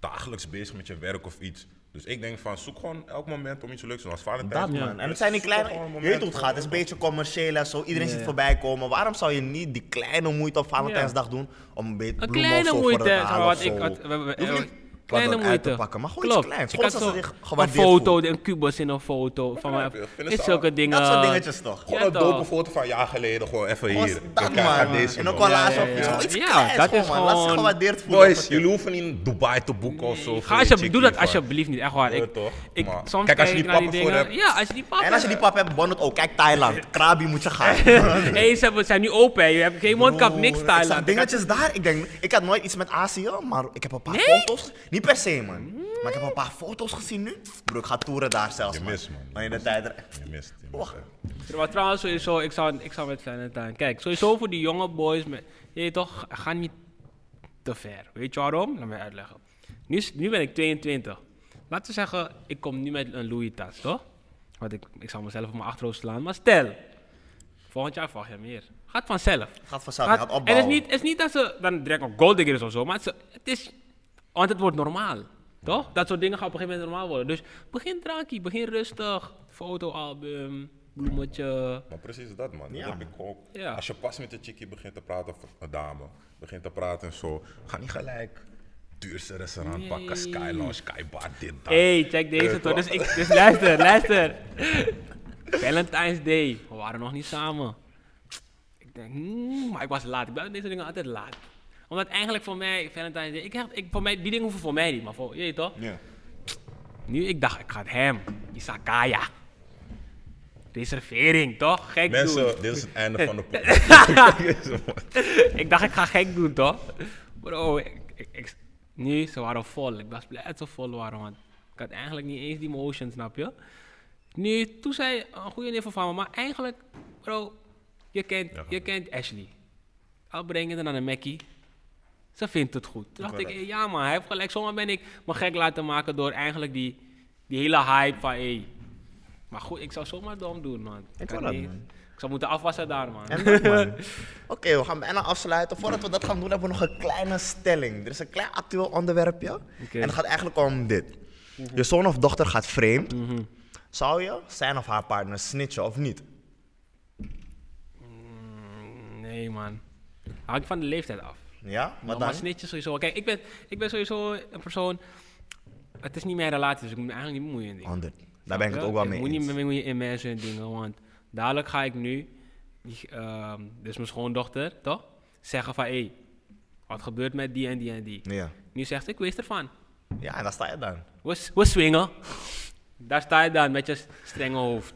dagelijks bezig met je werk of iets. Dus ik denk van, zoek gewoon elk moment om iets leuks te doen. Als Valentijn.
Dat man. En het zijn die kleine. Je weet hoe het gaat. Het is een beetje commercieel en zo. Iedereen ziet
ja.
voorbij komen. Waarom zou je niet die kleine moeite op Valentijnsdag doen om een beetje
Een
bloemen
kleine
of zo
moeite,
voor het te
zeg
halen
maar,
of
wat ik-
zo?
wat- we- we-
Je hoeft
eh,
niet
kleine
dat uit
moeite.
te pakken, maar gewoon
Klopt.
iets kleins.
Ik
Gewoon
had
zodat
zo
ze zich
een
gewaardeerd
foto,
voelen.
een kubus in een foto van mij.
Begrijp je? Vinden
Is
ze
zulke
allemaal-
dingen. eh,
Dat soort dingetjes toch?
Gewoon
Ja,
een
toch.
dope foto van een jaar geleden, gewoon even
Gewoon
hier.
dat
Kijk,
man.
aan deze
En ook
man.
al laatst
Ja,
op
ja,
iets
ja.
iets
Ja,
kleins
dat
gewoon,
is
man. Laat ze
gewoon-
gewaardeerd voelen.
Boys, jullie hoeven niet in Dubai te boeken of zo.
Ga alsjeblieft, doe dat alsjeblieft niet, echt waar.
Ja,
Ik,
toch?
ik,
Maar-
soms
Kijk, als je
kijk
die
ik naar
pappen voor
dingen-
hebt.
Ja, als je die pappen
En als je die pap hebt, bon het ook. Kijk, Thailand. Krabi moet je gaan.
hey, ze hebben- zijn nu open, hè. je hebt geen mondkap, niks
Broer, Ik zag
Thailand.
dingetjes daar. Ik denk, ik had nooit iets met Azië, maar ik heb een paar
Nee?
foto's. Niet per se, man. Maar ik heb een paar foto's gezien nu. Bro, ik ga toeren daar zelfs,
Je
man.
mist, man.
Maar in de tijd... er-
Je mist, je mist,
Wacht.
hè.
Maar trouwens, sowieso, ik zou, ik zou met Valentijn. Kijk, sowieso voor die jonge boys, met, je weet toch, ga niet te ver. Weet je waarom? Laat me uitleggen. Nu, is- nu ben ik 22. Laten we zeggen, ik kom nu met een Louis-tas, toch? Want ik, ik zal mezelf op mijn achterhoofd slaan. Maar stel, volgend jaar verwacht je meer. Gaat vanzelf.
Gaat vanzelf, je gaat
en het
opbouwen.
is, niet, het is niet dat ze dan direct een gold digger is of zo, maar het is, het is- want het wordt normaal. Toch? Dat soort dingen gaan op een gegeven moment normaal worden. Dus begin drankie, begin rustig. Fotoalbum, bloemetje.
Maar precies dat, man.
Ja.
Dat heb ik ook.
Ja.
Als je pas met een chickie begint te praten, of een dame, begint te praten en zo, ga niet gelijk duurste restaurant pakken, Sky Lounge, Sky Bar, dit, dat.
Hé, hey, check deze
Eh,
toch. Dus,
toch?
ik, dus luister, luister. Valentine's Day. We waren nog niet samen. Ik denk, hmm, maar ik was laat. Ik ben met deze dingen altijd laat. Omdat eigenlijk voor mij, Valentine's Day, ik, echt- ik, voor mij, die dingen hoeven voor mij niet, maar voor je weet toch?
Ja.
Nu, ik dacht, ik ga het hem. Isakaya. Reservering, toch? Gek doen.
Mensen, dit is het einde van de podcast. Jezus, man.
ik dacht, ik ga gek doen, toch? Bro, ik, ik, ik- Nee, ze waren vol. Ik was blij dat ze vol waren, man. Ik had eigenlijk niet eens die motion, snap je? Nu, toen zei een goede neef van me, maar eigenlijk, bro, je kent,
Ja,
je kent Ashley. Al breng je haar naar de Mackie. Ze vindt het goed. Toen dacht ik, eh, ja man, hij heeft gelijk. Zomaar ben ik me gek laten maken door eigenlijk die, die hele hype van, hé. Maar goed, ik zou zomaar dom doen, man.
Ik
kan
hoor dat,
niet.
man.
Ik zou moeten afwassen daar, man.
En dat, man. Oké, we gaan bijna afsluiten. Voordat we dat gaan doen, hebben we nog een kleine stelling. Er is een klein actueel onderwerpje. En het gaat eigenlijk om dit. Je zoon of dochter gaat vreemd.
Mhm.
Zou je zijn of haar partner snitchen of niet?
Nee, man. Hangt van de leeftijd af.
Ja? Wat
Maar,
dan?
maar snitchen sowieso. Kijk, ik ben, ik ben sowieso een persoon. Het is niet mijn relatie, dus ik moet me eigenlijk niet bemoeien. in dingen.
100. Daar ben Oh, ik het ook wel mee
moet
eens.
niet meer in mensen en dingen, want dadelijk ga ik nu, die, ehm, dus mijn schoondochter, toch? Zeggen van, hé, hey, wat gebeurt met die en die en die?
Ja.
Nu zegt ze, ik weet ervan.
ja, en daar sta je dan.
We, s- we swingen. Daar sta je dan met je s- strenge hoofd.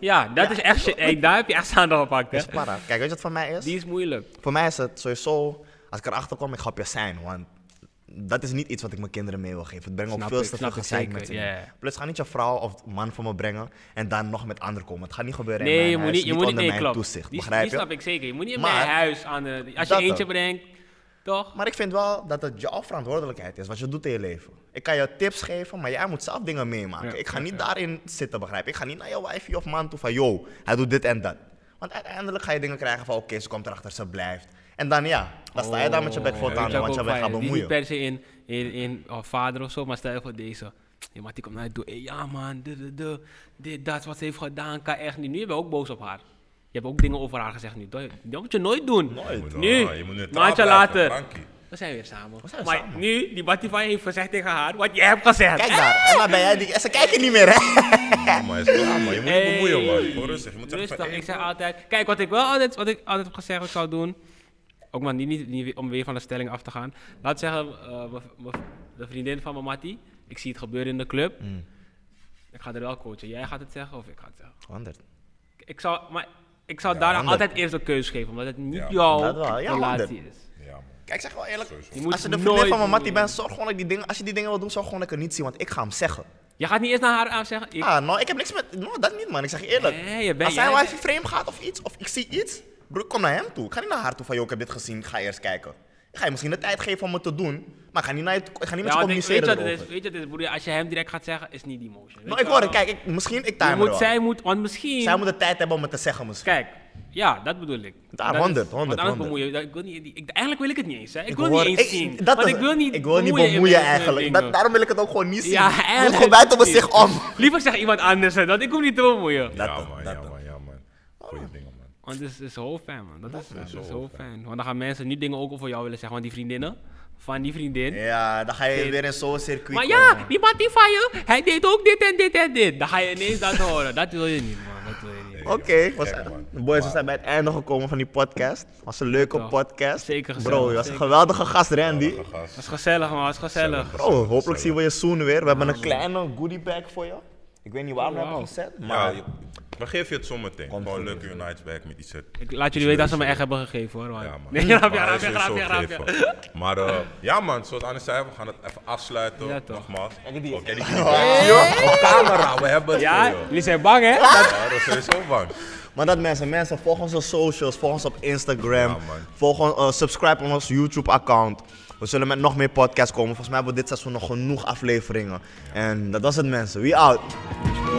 Ja, dat is echt shit. Hey, daar heb je echt staan gepakt, hè?
Dat is para. Dus Kijk, weet je wat voor mij is?
Die is moeilijk.
Voor mij is het sowieso, als ik erachter kom, ik ga op je zijn. Want dat is niet iets wat ik mijn kinderen mee wil geven. Het brengt ook
Snap
veel
ik,
te veel
snap ik
gezeik
zeker,
met zich.
ja.
mee. Plus, ga niet je vrouw of man voor me brengen en dan nog met anderen komen. Het gaat niet gebeuren in
Nee,
mijn
je moet
huis,
niet, je moet niet,
onder
nee,
mijn
klopt.
toezicht.
Die,
begrijp
die
je?
snap ik zeker. Je moet niet in
Maar-
mijn huis aan de, als je
Dat
eentje
ook.
brengt, toch?
Maar ik vind wel dat het jouw verantwoordelijkheid is, wat je doet in je leven. Ik kan je tips geven, maar jij moet zelf dingen meemaken.
Ja,
ik ga
ja,
niet
ja.
daarin zitten, begrijp je? Ik ga niet naar jouw wijfje of man toe van, yo, hij doet dit en dat. Want uiteindelijk ga je dingen krijgen van, oké, ze komt erachter, ze blijft. En dan ja, dan sta je daar met je bek vol
Oh,
tanden,
dat
want
is
je
ook
bent gaan
fijn. Die is
bemoeien.
Niet per se in, in, in oh, vader of zo, maar stel je voor deze. Je maat die komt naar je toe. Hey, ja man, de, de, de, dit, dat, wat ze heeft gedaan, kan echt niet. Nu ben je ook boos op haar. Je hebt ook dingen over haar gezegd nu. Dat, dat moet je nooit doen.
Je moet-
Nu,
ah, je moet neutraal
een maandje
blijven,
later.
Frankie.
We zijn weer samen.
zijn
maar
samen.
nu, die Batifai heeft gezegd tegen haar wat jij hebt gezegd.
Kijk daar, en waar ben jij? Die, ze kijken niet meer, hè?
Ja, maar is klaar, man. Je moet
Hey.
niet bemoeien, man. Gewoon rustig. Je moet zeggen
Rustig,
van, hey,
ik zeg
bro.
altijd. Kijk, wat ik wel altijd, wat ik altijd heb gezegd wat ik zou doen. Ook maar niet, niet, niet- om weer van de stelling af te gaan. Laat zeggen, eh, mijn- mijn- de vriendin van mijn Mattie. Ik zie het gebeuren in de club.
Mm.
Ik ga er wel coachen. Jij gaat het zeggen of ik ga het zeggen.
100.
Ik zou, maar ik zou daarna
honderd.
altijd eerst de keus geven, omdat het niet
Ja,
jouw
dat wel. Ja,
relatie is.
Ja, man.
Kijk, zeg wel eerlijk.
Sowieso.
Je moet
Als je de
nooit
vriendin van mijn mattie
doen.
bent, zorg gewoon dat ik die dingen, als je die dingen wil doen, zorg gewoon dat ik het niet zie, want ik ga hem zeggen.
Je gaat niet eerst naar haar aan zeggen. Ik,
Ah, nou, ik heb niks met. Nou, dat niet, man. Ik zeg je eerlijk.
Nee, je bent-
Als zijn
jij-
wifi frame gaat of iets, of ik zie iets, broer, ik kom naar hem toe. Ik ga niet naar haar toe van, joh, ik heb dit gezien, ik ga eerst kijken. Ik ga je misschien de tijd geven om het te doen, maar ik ga niet, naar je, toe- ik ga niet met
Ja,
je
want ik- weet
communiceren
je wat het
erover.
is? Weet je wat het is, broer? Als je hem direct gaat zeggen, is niet die motion.
Nou, ik hoor het. Kijk, ik, misschien ik
Je
timer
moet,
wel.
zij moet, want misschien...
Zij moet de tijd hebben om het te zeggen misschien.
Kijk, ja, dat bedoel ik.
Ja,
Dat is-
100, 100,
Want anders
100.
bemoeien, dat- ik wil niet, ik, eigenlijk wil ik het niet eens, hè. Ik, wil
hoor-
niet eens
ik-
zien.
dat
want
is-
ik wil niet
ik wil niet bemoeien,
met
eigenlijk.
dingen.
Dat, daarom wil ik het ook gewoon niet zien.
Ja,
het
eigenlijk
gewoon buiten
precies.
zich om.
Liever zeg iemand anders, hè, dat ik hoef niet te bemoeien.
Dat
Ja,
ook,
man.
dat
Ja,
ook.
man. Ja, man.
Oh.
Goeie dingen, man.
Want het is, het is zo fijn, man. Dat, is, het is
zo
zo fijn. Want dan gaan mensen nu dingen ook over jou willen zeggen. Want die vriendinnen van die vriendin.
Ja, dan ga je weer in zo'n circuit
maar
komen.
ja, die man die van je, hij deed ook dit en dit en dit. Dan ga je ineens dat horen. Dat wil je niet, man. Dat wil je niet.
Oké, was-
Gek, man.
boys, we zijn bij het einde gekomen van die podcast. Was een leuke
Toch.
podcast.
Zeker gezellig,
Bro, je was een
zeker.
geweldige gast, Randy.
Geweldige gast.
Dat is gezellig, man. Dat is gezellig.
Bro, hopelijk zien we je soon weer. We hebben een kleine goodie bag voor je. Ik weet niet waar we hem
Wauw.
hebben gezet,
Ja,
maar
je- we geven je het zometeen. Gewoon
goed,
leuke Unites back met iets.
Ik laat jullie weten dat ze me echt hebben gegeven, hoor. man.
Ja, man.
Nee,
Maar
grapje,
hij is
grapje, grapje,
sowieso
grapje.
geven. Maar eh, ja, man, zoals Anne zei, we gaan het even afsluiten.
Ja, toch.
Nogmaals. Oh, kijk, die is erbij. Op camera, we hebben het.
Ja,
voor je.
jullie zijn bang, hè?
Ja, dat is sowieso bang.
maar dat mensen, mensen, volg ons op socials, volg ons op Instagram,
Ja, man.
volg ons, eh, subscribe op ons YouTube-account. We zullen met nog meer podcasts komen. Volgens mij hebben we dit seizoen nog genoeg afleveringen. En dat was het, mensen. We out.
Dat